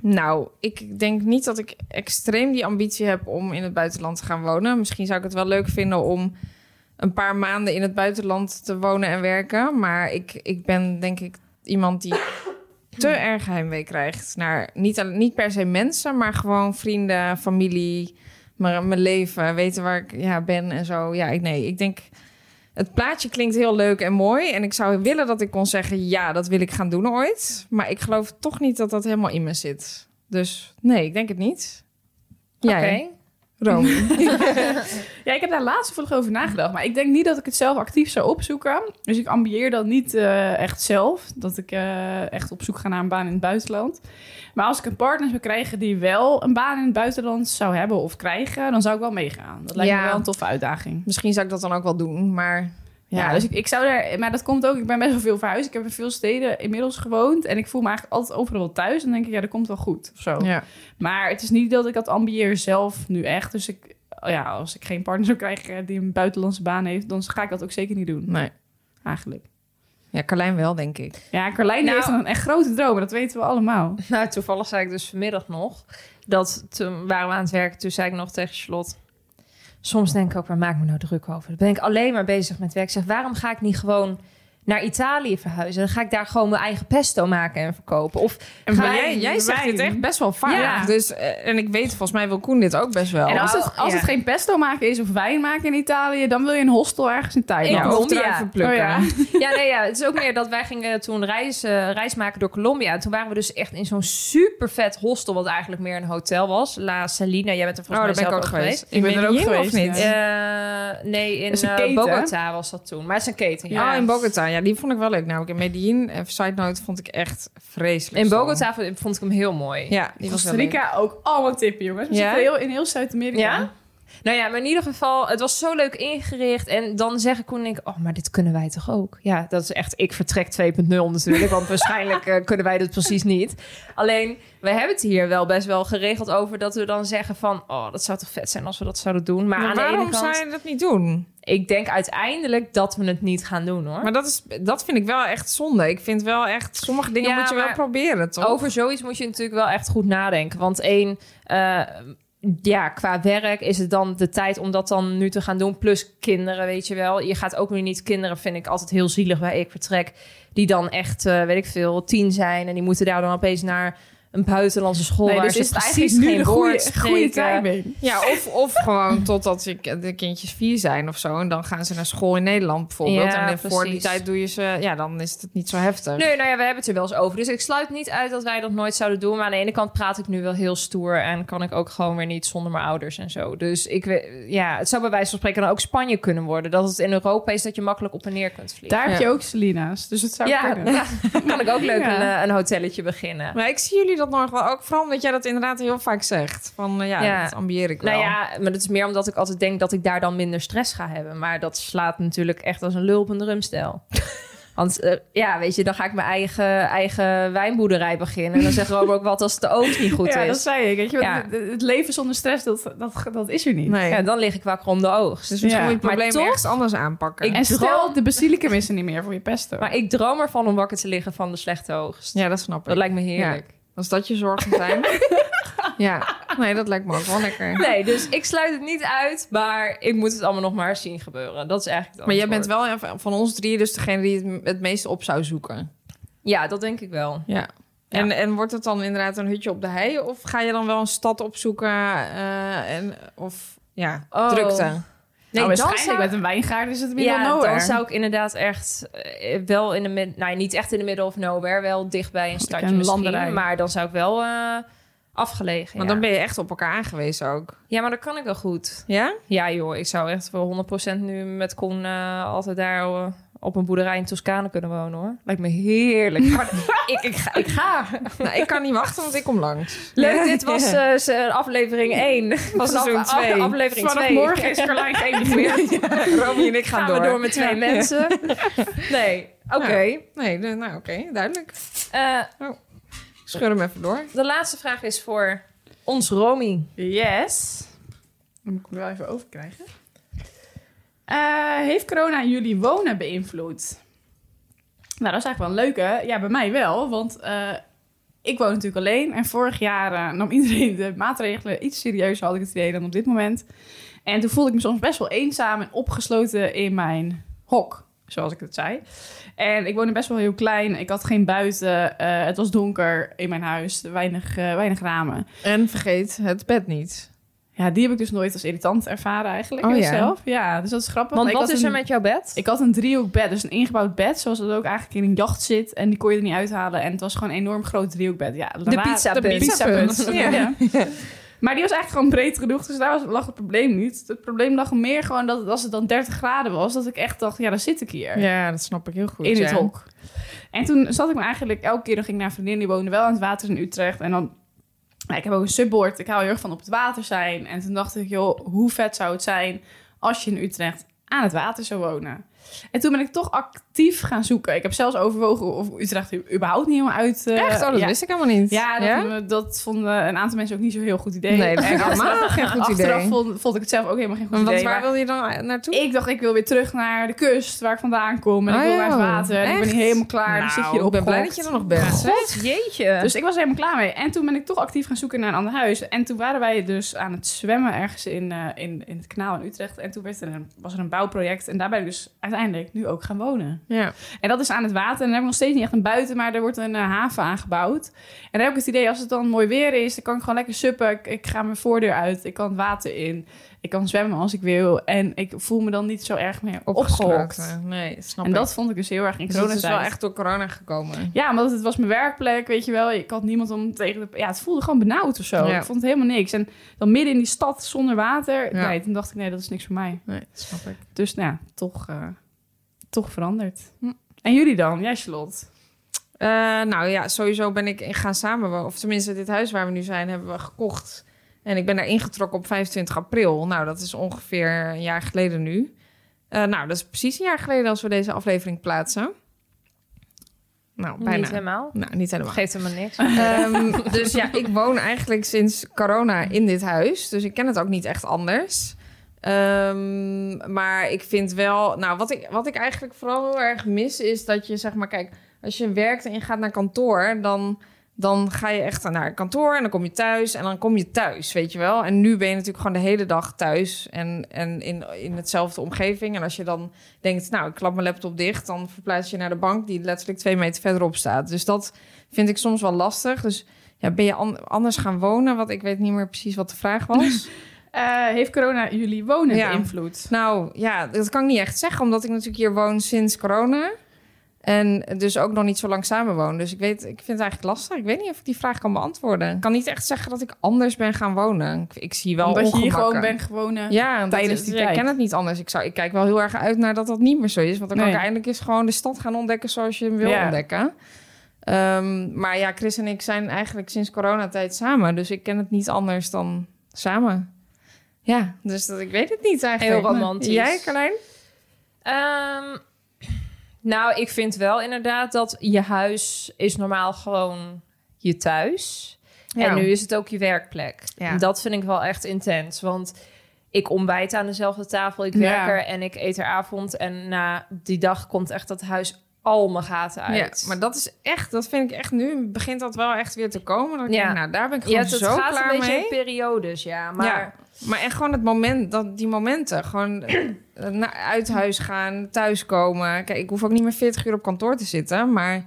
nou, ik denk niet dat ik extreem die ambitie heb om in het buitenland te gaan wonen. Misschien zou ik het wel leuk vinden om een paar maanden in het buitenland te wonen en werken. Maar ik, ik ben denk ik iemand die te
Hmm.
erg heimwee krijgt. Naar niet, al- niet per se mensen, maar gewoon vrienden, familie, maar mijn leven, weten waar ik ja, ben en zo. Ja, ik, nee, ik denk... Het plaatje klinkt heel leuk en mooi. En ik zou willen dat ik kon zeggen, ja, dat wil ik gaan doen ooit. Maar ik geloof toch niet dat dat helemaal in me zit. Dus nee, ik denk het niet.
Oké.
Jij, Rome.
Ja, ik heb daar laatst toevallig over nagedacht. Maar ik denk niet dat ik het zelf actief zou opzoeken. Dus ik ambieer dat niet eh, echt zelf. Dat ik eh, echt op zoek ga naar een baan in het buitenland. Maar als ik een partner zou krijgen die wel een baan in het buitenland zou hebben of krijgen, dan zou ik wel meegaan. Dat lijkt
Ja.
me wel een toffe uitdaging.
Misschien zou ik dat dan ook wel doen, maar...
Ja, dus ik, ik zou daar. Maar dat komt ook. Ik ben best wel veel verhuisd. Ik heb in veel steden inmiddels gewoond. En ik voel me eigenlijk altijd overal wel thuis. En dan denk ik, ja, dat komt wel goed. Of zo.
Oh.
ja.
Maar het is niet dat ik dat ambieer zelf nu echt. Dus ik, ja, als ik geen partner zou krijgen eh, die een buitenlandse baan heeft, dan ga ik dat ook zeker niet doen.
Nee.
Eigenlijk.
Ja, Carlijn wel, denk ik.
Ja, Carlijn
Nou-
heeft een echt grote droom, dat weten we allemaal.
Nou, toevallig zei ik dus vanmiddag nog dat toen waren we aan het werken, toen zei ik nog tegen Charlotte. Soms denk ik ook, waar maak ik me nou druk over? Dan ben ik alleen maar bezig met werk. Ik zeg, waarom ga ik niet gewoon naar Italië verhuizen? Dan ga ik daar gewoon mijn eigen pesto maken en verkopen. Of
En
ga
maar
ik-
jij, jij zegt
wijn.
dit echt best wel vaak.
Ja.
Dus, eh, en ik weet, volgens mij wil Koen dit ook best wel.
En
als
nou,
het, als
ja.
het geen pesto maken is of wijn maken in Italië, dan wil je een hostel ergens in
Ik
Thailand.
of
wil- Colombia.
druiven plukken.
Oh ja.
Ja, nee, ja, het is ook meer dat wij gingen toen reis, eh, reis maken door Colombia. En toen waren we dus echt in zo'n super vet hostel, wat eigenlijk meer een hotel was. La Salina, jij bent er
Oh,
volgens
daar
mij
ben ik
zelf
ook geweest.
Ik ben er ook
Medellin,
geweest,
Of
ja.
niet?
Eh, nee, in
is een
eh,
keten, hè?
Bogota was dat toen. Maar het is een keten, ja.
Oh, in Bogota. Ja, die vond ik wel leuk. Nou, in Medellin, even side note, vond ik echt vreselijk.
In
stom.
Bogota vond- vond ik hem heel mooi.
Ja, die was
Costa
wel leuk.
Rica ook allemaal tippen, jongens. We
Ja?
zitten heel, in heel Zuid-Amerika.
Ja? Nou ja, maar in ieder geval, het was zo leuk ingericht. En dan zeggen Koen en ik, oh, maar dit kunnen wij toch ook? Ja, dat is echt ik vertrek 2.0 natuurlijk. Want waarschijnlijk eh, kunnen wij dat precies niet. Alleen, we hebben het hier wel best wel geregeld over... dat we dan zeggen van, oh, dat zou toch vet zijn als we dat zouden doen. Maar,
Maar
aan de
waarom
ene kant,
zou je dat niet doen?
ik denk uiteindelijk dat we het niet gaan doen, hoor.
Maar dat, is, dat vind ik wel echt zonde. Ik vind wel echt, sommige dingen
Ja,
moet je wel
maar
proberen, toch?
Over zoiets moet je natuurlijk wel echt goed nadenken. Want één, eh, ja, qua werk is het dan de tijd om dat dan nu te gaan doen. Plus kinderen, weet je wel. Je gaat ook weer niet kinderen, vind ik altijd heel zielig bij ik vertrek. Die dan echt, eh, weet ik veel, tien zijn. En die moeten daar dan opeens naar een buitenlandse school.
Nee,
waar
dus
ze
is het
precies
eigenlijk nu
geen
de goede,
woord
goede
spreken.
timing.
Ja, of, of gewoon totdat je, k- de kindjes vier zijn of zo. En dan gaan ze naar school in Nederland bijvoorbeeld.
Ja,
en voor die
precies.
tijd doe je ze... Ja, dan is het niet zo heftig.
Nee, nou ja, we hebben het er wel eens over. Dus ik sluit niet uit dat wij dat nooit zouden doen. Maar aan de ene kant praat ik nu wel heel stoer. En kan ik ook gewoon weer niet zonder mijn ouders en zo. Dus ik we- ja, het zou bij wijze van spreken dan ook Spanje kunnen worden. Dat het in Europa is dat je makkelijk op en neer kunt vliegen.
Daar heb je
Ja.
ook Selina's, dus het zou
ja,
kunnen.
ja, kan ik ook leuk
Ja.
een, eh, een hotelletje beginnen.
Maar ik zie jullie dat nog wel ook. Vooral omdat jij dat inderdaad heel vaak zegt. Van eh, ja,
Ja.
dat ambieer ik wel.
Nou ja, maar dat is meer omdat ik altijd denk dat ik daar dan minder stress ga hebben. Maar dat slaat natuurlijk echt als een lul op een drumstel. Want eh, ja, weet je, dan ga ik mijn eigen, eigen wijnboerderij beginnen. En dan zegt Robert ook wat als de oogst niet goed
ja,
is.
dat zei ik. Weet je,
Ja.
het, het leven zonder stress, dat, dat, dat is er niet.
Nee.
Ja, dan lig ik wakker om de oogst.
dus misschien
Ja.
moet je het
Maar
probleem
toch-
ergens anders aanpakken.
Ik-
En stel,
Droom-
de basilicum is er niet meer voor je pesto.
Maar ik droom ervan om wakker te liggen van de slechte oogst.
ja, dat snap ik.
Dat lijkt me heerlijk.
Als dat je zorgen zijn. ja, nee, dat lijkt me ook wel lekker.
Nee, dus ik sluit het niet uit, maar ik moet het allemaal nog maar zien gebeuren. Dat is eigenlijk het
Maar jij bent
antwoord.
wel even van ons drie dus degene die het, het meest op zou zoeken.
Ja, dat denk ik wel.
Ja. En, en wordt het dan inderdaad een hutje op de hei? Of ga je dan wel een stad opzoeken? eh, en, of ja,
Oh.
drukte.
Nee,
nou,
dan
waarschijnlijk
zou...
met een wijngaard is het middel
Ja,
nowhere.
dan zou ik inderdaad echt eh, wel in de mid, nou niet echt in de middle of nowhere, wel dichtbij een stadje
een
misschien,
landerij.
maar dan zou ik wel eh, afgelegen.
Want
ja.
dan ben je echt op elkaar aangewezen ook.
ja, maar dat kan ik wel goed.
Ja?
Ja, joh, ik zou echt voor 100% nu met Koen eh, altijd daar eh, op een boerderij in Toscane kunnen wonen hoor. Lijkt me heerlijk. Maar ik, ik ga. Ik ga.
Nou, ik kan niet wachten, want ik kom langs.
Leuk, dit was eh, z- aflevering 1.
Van seizoen twee.
Aflevering
Vanaf
2.
morgen is Carlijn geen niet meer.
Romy en ik gaan,
Gaan
door.
we door met twee mensen. Nee, oké.
Nee, de- nou oké, duidelijk.
Eh,
Scheur hem even door.
de laatste vraag is voor ons Romy.
Yes. Dan moet ik hem wel even overkrijgen. Eh, heeft corona jullie wonen beïnvloed? Nou, dat is eigenlijk wel een leuke. Ja, bij mij wel, want eh, ik woon natuurlijk alleen. En vorig jaar eh, nam iedereen de maatregelen iets serieuzer, had ik het idee, dan op dit moment. En toen voelde ik me soms best wel eenzaam en opgesloten in mijn hok, zoals ik het zei. En ik woonde best wel heel klein. Ik had geen buiten. eh, het was donker in mijn huis. Weinig, eh, weinig ramen.
En vergeet het bed niet.
Ja, die heb ik dus nooit als irritant ervaren eigenlijk
Oh,
oh,
ja.
zelf. Ja, dus dat is grappig.
Want
Ik
wat
had
is
een-
er met jouw bed?
Ik had een driehoekbed, dus een ingebouwd bed, zoals dat ook eigenlijk in een jacht zit. En die kon je er niet uithalen. En het was gewoon een enorm groot driehoekbed. Ja, raar-
pizza
de
punt.
pizza punt.
Pizza punt.
Ja. Maar die was eigenlijk gewoon breed genoeg, dus daar was, lag het probleem niet. Het probleem lag meer gewoon dat het- als het dan 30 graden was, dat ik echt dacht, ja, daar zit ik hier
Ja, dat snap ik heel goed.
in
ja.
het hok. En toen zat ik me eigenlijk elke keer, dan ging ik naar een vriendin, die woonde wel aan het water in Utrecht. En dan, nou, ik heb ook een subboard, ik hou heel erg van op het water zijn. En toen dacht ik, joh, hoe vet zou het zijn als je in Utrecht aan het water zou wonen. En toen ben ik toch actief gaan zoeken. Ik heb zelfs overwogen of Utrecht überhaupt niet helemaal uit... eh,
Echt? Oh, dat
ja.
wist ik helemaal niet.
Ja, dat, Vonden, we- dat vonden een aantal mensen ook niet zo'n heel goed idee.
Nee, dat
En
vind ik helemaal geen goed
Achteraf
idee.
vond, vond ik het zelf ook helemaal geen goed
Want
idee.
wat,
maar-
waar wil je dan naartoe?
ik dacht, ik wil weer terug naar de kust waar ik vandaan kom. En
Oh,
ik wil
ja.
naar het water. En ik ben
Echt?
hier helemaal klaar. en dan zit je
Nou,
hier
ik ben blij dat
opgehokt.
je er nog bent.
God, jeetje.
Dus ik was er helemaal klaar mee. En toen ben ik toch actief gaan zoeken naar een ander huis. En toen waren wij dus aan het zwemmen ergens in, eh, in, in het kanaal in Utrecht. En toen werd er een, was er een bouwproject. En daar ben ik dus uiteindelijk nu ook gaan wonen.
Ja.
En dat is aan het water. En daar heb ik nog steeds niet echt een buiten, maar er wordt een eh, haven aangebouwd. En daar heb ik het idee, als het dan mooi weer is, dan kan ik gewoon lekker suppen. Ik, ik ga mijn voordeur uit, ik kan het water in. Ik kan zwemmen als ik wil. En ik voel me dan niet zo erg meer opgehokt.
Opgesloten. Nee, snap
En
ik.
dat vond ik dus heel erg in
Dus dat is
coronatijd.
wel echt door corona gekomen.
Ja, omdat het was mijn werkplek, weet je wel. Ik had niemand om tegen de... Ja, het voelde gewoon benauwd of zo.
Ja.
Ik vond het helemaal niks. En dan midden in die stad zonder water.
Ja.
Nee, toen dacht ik, nee, dat is niks voor mij.
Nee, snap ik.
Dus nou, ja, toch, eh, toch veranderd.
Hm.
En jullie dan? Jij, Charlotte?
Eh, nou ja, sowieso ben ik gaan samenwonen. Of tenminste, dit huis waar we nu zijn, hebben we gekocht. En ik ben daar ingetrokken op 25 april. Nou, dat is ongeveer een jaar geleden nu. Eh, nou, dat is precies een jaar geleden als we deze aflevering plaatsen. Nou, bijna.
Niet helemaal.
Nou, niet helemaal.
Geeft hem maar niks.
Ehm, dus ja, ik woon eigenlijk sinds corona in dit huis. Dus ik ken het ook niet echt anders. Ehm, maar ik vind wel... Nou, wat ik, wat ik eigenlijk vooral heel erg mis is dat je, zeg maar... Kijk, als je werkt en je gaat naar kantoor, dan... Dan ga je echt naar kantoor en dan kom je thuis en dan kom je thuis, weet je wel. En nu ben je natuurlijk gewoon de hele dag thuis en, en in, in hetzelfde omgeving. En als je dan denkt, nou, ik klap mijn laptop dicht, dan verplaats je naar de bank die letterlijk twee meter verderop staat. Dus dat, vind ik soms wel lastig. Dus ja, ben je an- anders gaan wonen? Want ik weet niet meer precies wat de vraag was.
Eh, heeft corona jullie wonen
Ja.
beïnvloed?
nou ja, dat kan ik niet echt zeggen, omdat ik natuurlijk hier woon sinds corona. En dus ook nog niet zo lang samen woon. Dus ik, weet, ik vind het eigenlijk lastig. Ik weet niet of ik die vraag kan beantwoorden. Ik kan niet echt zeggen dat ik anders ben gaan wonen. Ik, ik zie wel
Omdat je hier
ongemakken.
gewoon bent gewonnen.
Ja, dat
tijdens
is-
die
ja, ik
tijd.
ken het niet anders. Ik, zou, ik kijk wel heel erg uit naar dat dat niet meer zo is. Want dan kan
Nee.
ik eindelijk eens gewoon de stad gaan ontdekken zoals je hem wil
Ja.
ontdekken. Ehm, maar ja, Chris en ik zijn eigenlijk sinds coronatijd samen. Dus ik ken het niet anders dan samen. Ja, dus dat, ik weet het niet eigenlijk.
Heel romantisch.
Jij, Carlijn?
Ehm, nou, ik vind wel inderdaad dat je huis is normaal gewoon je thuis. En nu is het ook je werkplek.
Ja.
En Dat vind ik wel echt intens. Want ik ontbijt aan dezelfde tafel, ik werk
Ja.
er en ik eet er avond. En na die dag komt echt dat huis al mijn gaten uit.
Ja, maar dat is echt, dat vind ik echt nu, begint dat wel echt weer te komen. Dan
Ja.
denk ik, nou, daar ben ik
Ja,
gewoon
het, het
zo
gaat
klaar
een beetje
mee.
in periodes, ja. Maar
Ja, maar echt gewoon het moment, dat, die momenten. Gewoon eh, naar, uit huis gaan, thuiskomen. Kijk, ik hoef ook niet meer 40 uur op kantoor te zitten, maar...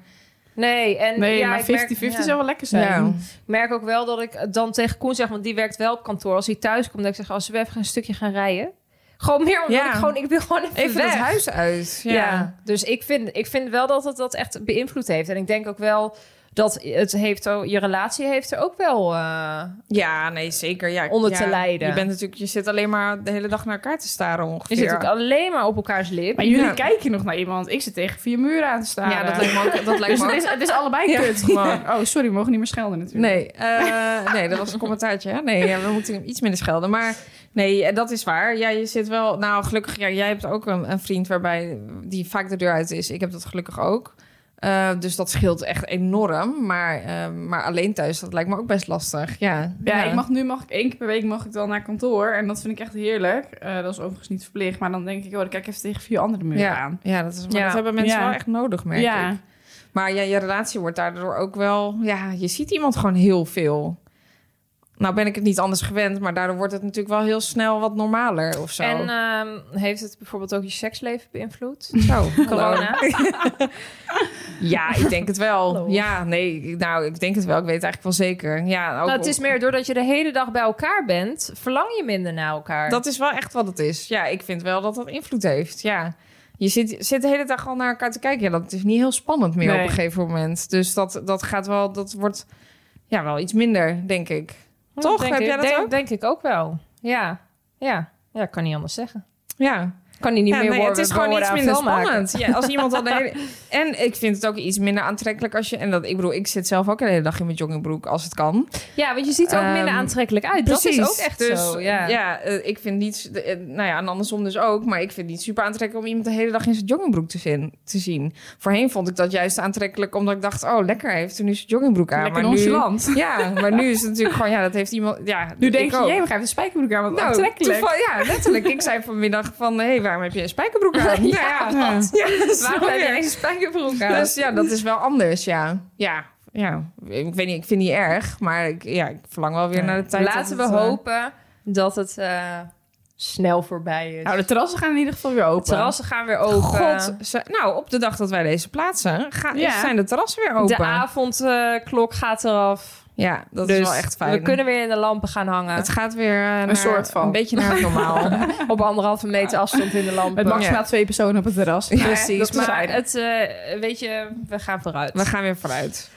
nee, en
Nee,
ja,
maar 50-50
ik merk- ja.
zou wel lekker zijn.
Ja.
Ik merk ook wel dat ik het dan tegen Koen zeg, want die werkt wel op kantoor. Als hij thuis komt, dan zeg ik, als we even een stukje gaan rijden. Gewoon meer omdat
Ja.
ik gewoon, ik wil gewoon even,
Even
weg.
het huis uit. Ja.
Ja. dus ik vind, ik vind wel dat het dat echt beïnvloed heeft. En ik denk ook wel dat het heeft, ook- je relatie heeft er ook wel... eh,
Ja, nee, zeker. Ja,
Onder
ja,
te lijden.
Je, bent natuurlijk, je zit alleen maar de hele dag naar elkaar te staren ongeveer.
je zit ook alleen maar op elkaars lip.
Maar jullie
Ja.
kijken nog naar iemand. Ik zit tegen vier muren aan te staan.
ja, dat lijkt me ook. Dat lijkt
dus
me
het
ook-
is, het is allebei kut gewoon. Oh, sorry, we mogen niet meer schelden natuurlijk.
Nee, eh, nee, dat was een commentaartje. Hè? Nee, ja, we moeten hem iets minder schelden. Maar nee, eh, dat is waar. Ja, je zit wel... Nou, gelukkig, ja, jij hebt ook een, een vriend waarbij die vaak de deur uit is. Ik heb dat gelukkig ook. Eh, dus dat scheelt echt enorm. Maar, eh, maar alleen thuis, dat lijkt me ook best lastig. Ja,
Ja, Ik mag, nu mag ik één keer per week mag ik dan naar kantoor. En dat vind ik echt heerlijk. Eh, dat is overigens niet verplicht. Maar dan denk ik, oh, dan kijk ik even tegen vier andere muren
Ja,
aan.
ja, dat, is, maar
Ja.
dat hebben mensen
Ja.
wel echt nodig, merk
ja.
ik. Maar ja, je relatie wordt daardoor ook wel... Ja, je ziet iemand gewoon heel veel. Nou ben ik het niet anders gewend, maar daardoor wordt het natuurlijk wel heel snel wat normaler of zo.
En ehm, heeft het bijvoorbeeld ook je seksleven beïnvloed?
zo, hallo.
Oh, Corona?
Ja, ik denk het wel.
Hallo.
Ja, nee, ik- nou, ik denk het wel. Ik weet het eigenlijk wel zeker. Ja, ook
Nou, het is meer doordat je de hele dag bij elkaar bent, verlang je minder naar elkaar.
Dat is wel echt wat het is. Ja, ik vind wel dat dat invloed heeft. Ja. Je zit, zit de hele dag al naar elkaar te kijken. Ja, dat is niet heel spannend meer
Nee.
op een gegeven moment. Dus dat, dat gaat wel, dat wordt ja, wel iets minder, denk ik.
Ja,
toch?
Denk
Heb
ik,
jij dat
denk,
ook?
Denk ik ook wel. Ja, ja, ja, kan niet anders zeggen.
Ja,
Kan die niet
Ja,
meer
nee,
worden.
het is gewoon
worden
iets
aan
minder
vuil maken.
spannend. Ja, als iemand al de hele... En ik vind het ook iets minder aantrekkelijk als je... En dat, ik bedoel, ik zit zelf ook de hele dag in mijn joggingbroek als het kan.
Ja, want je ziet er ook minder
Ehm,
aantrekkelijk uit. Ah, Dat is ook echt
dus,
zo. Ja.
eh, ik vind niet... de- eh, nou ja, en andersom dus ook. Maar ik vind het niet super aantrekkelijk om iemand de hele dag in zijn joggingbroek te, zin, te zien. Voorheen vond ik dat juist aantrekkelijk omdat ik dacht... Oh, lekker, hij heeft er nu zijn joggingbroek aan.
Lekker
maar nu,
nonchalant.
ja, maar nu is het natuurlijk gewoon... Ja, dat heeft iemand... Ja,
Nu
ik
denk je,
ook. Nou,
jee, we gaan even spijkerbroek aan,
Nou,
wat aantrekkelijk.
toeval- ja, letterlijk. Ik zei vanmiddag van, hé, hey, waarom heb je een spijkerbroek aan?
Ja,
wat? ja
Waarom heb
sorry.
je geen spijkerbroek aan?
Dus ja, dat is wel anders, ja. Ja, ja. Ik weet niet, ik vind die erg, maar ik, ja, ik verlang wel weer naar de tijd.
Laten we
dat het, eh,
hopen dat het eh, snel voorbij is.
Nou, de terrassen gaan in ieder geval weer open.
de terrassen gaan weer open.
God, ze- nou, op de dag dat wij deze plaatsen, gaan,
Ja.
zijn de terrassen weer open.
De avondklok gaat eraf.
ja, dat
Dus
is wel echt fijn.
We kunnen weer in de lampen gaan hangen.
Het gaat weer eh, naar-
soort van.
een beetje naar het normaal.
Op anderhalve meter afstand in de lampen.
Met maximaal twee personen op het terras.
Precies,
dat is
maar
aardig.
het, eh, weet je, we gaan vooruit.
we gaan weer vooruit.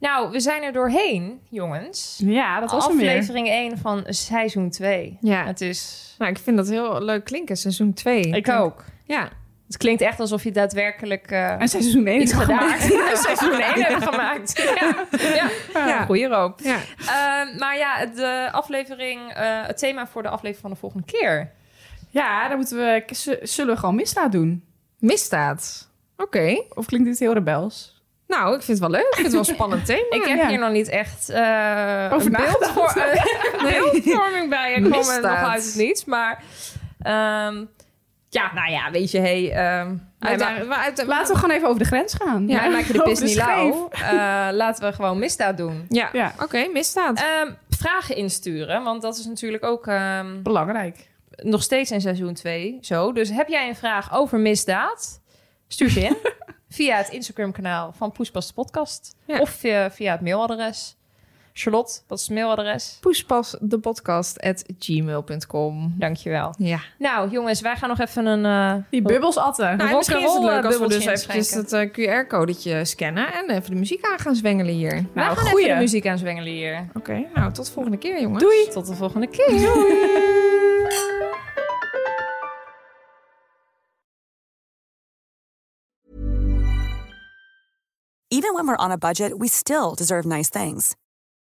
Nou, we zijn er doorheen, jongens.
Ja, dat was hem weer.
Aflevering 1 van seizoen 2.
Ja.
Het is...
Nou, ik vind dat heel leuk klinken, seizoen 2.
ook.
Ja.
Het klinkt echt alsof je daadwerkelijk eh,
En seizoen 1
iets gedaan hebt. seizoen 1 hebben gemaakt. Ja, ja.
Ja.
goeie rook.
Ja.
Eh, maar ja, de aflevering, eh, het thema voor de aflevering van de volgende keer.
Ja, dan moeten we, z- zullen we gewoon misdaad doen?
Misdaad. Oké.
Of klinkt dit heel rebels?
Nou, ik vind het wel leuk. Ik vind het wel een spannend thema.
Ik heb
ja.
hier nog niet echt eh
Over
een beeld
nagedacht.
voor, eh, beeldvorming bij. Ik kwam er nog
Misdaad.
uit het niets. Maar ehm, ja, nou ja, weet je, hey, ehm, wij
Uitdaging-
ma-
we- uit-
Laten we gewoon even over de grens gaan.
wij maken de
Over
pis niet
scheef.
lauw. Eh, laten we gewoon misdaad doen.
Ja,
Ja,
oké, misdaad.
Ehm, vragen insturen, want dat is natuurlijk ook ehm,
belangrijk.
nog steeds in seizoen 2 zo. Dus heb jij een vraag over misdaad? Stuur ze in via het Instagram-kanaal van Poespas de Podcast.
Ja.
Of via, via het mailadres. Charlotte, wat is het mailadres?
Poespas de podcast at gmail.com.
Dankjewel.
Ja.
Nou, jongens, wij gaan nog even een... eh,
Die bubbels atten.
Nou,
Nou, misschien is het
rock'n'roll,
leuk als we
eh,
dus
bubbeltje
eventjes dat QR-codetje scannen en even de muziek aan gaan zwengelen hier.
wij
Nou,
gaan
goeie.
even de muziek aanzwengelen hier.
Oké, nou tot volgende keer jongens.
Doei! Tot de volgende keer.
Even when we're on a budget, we still deserve nice things.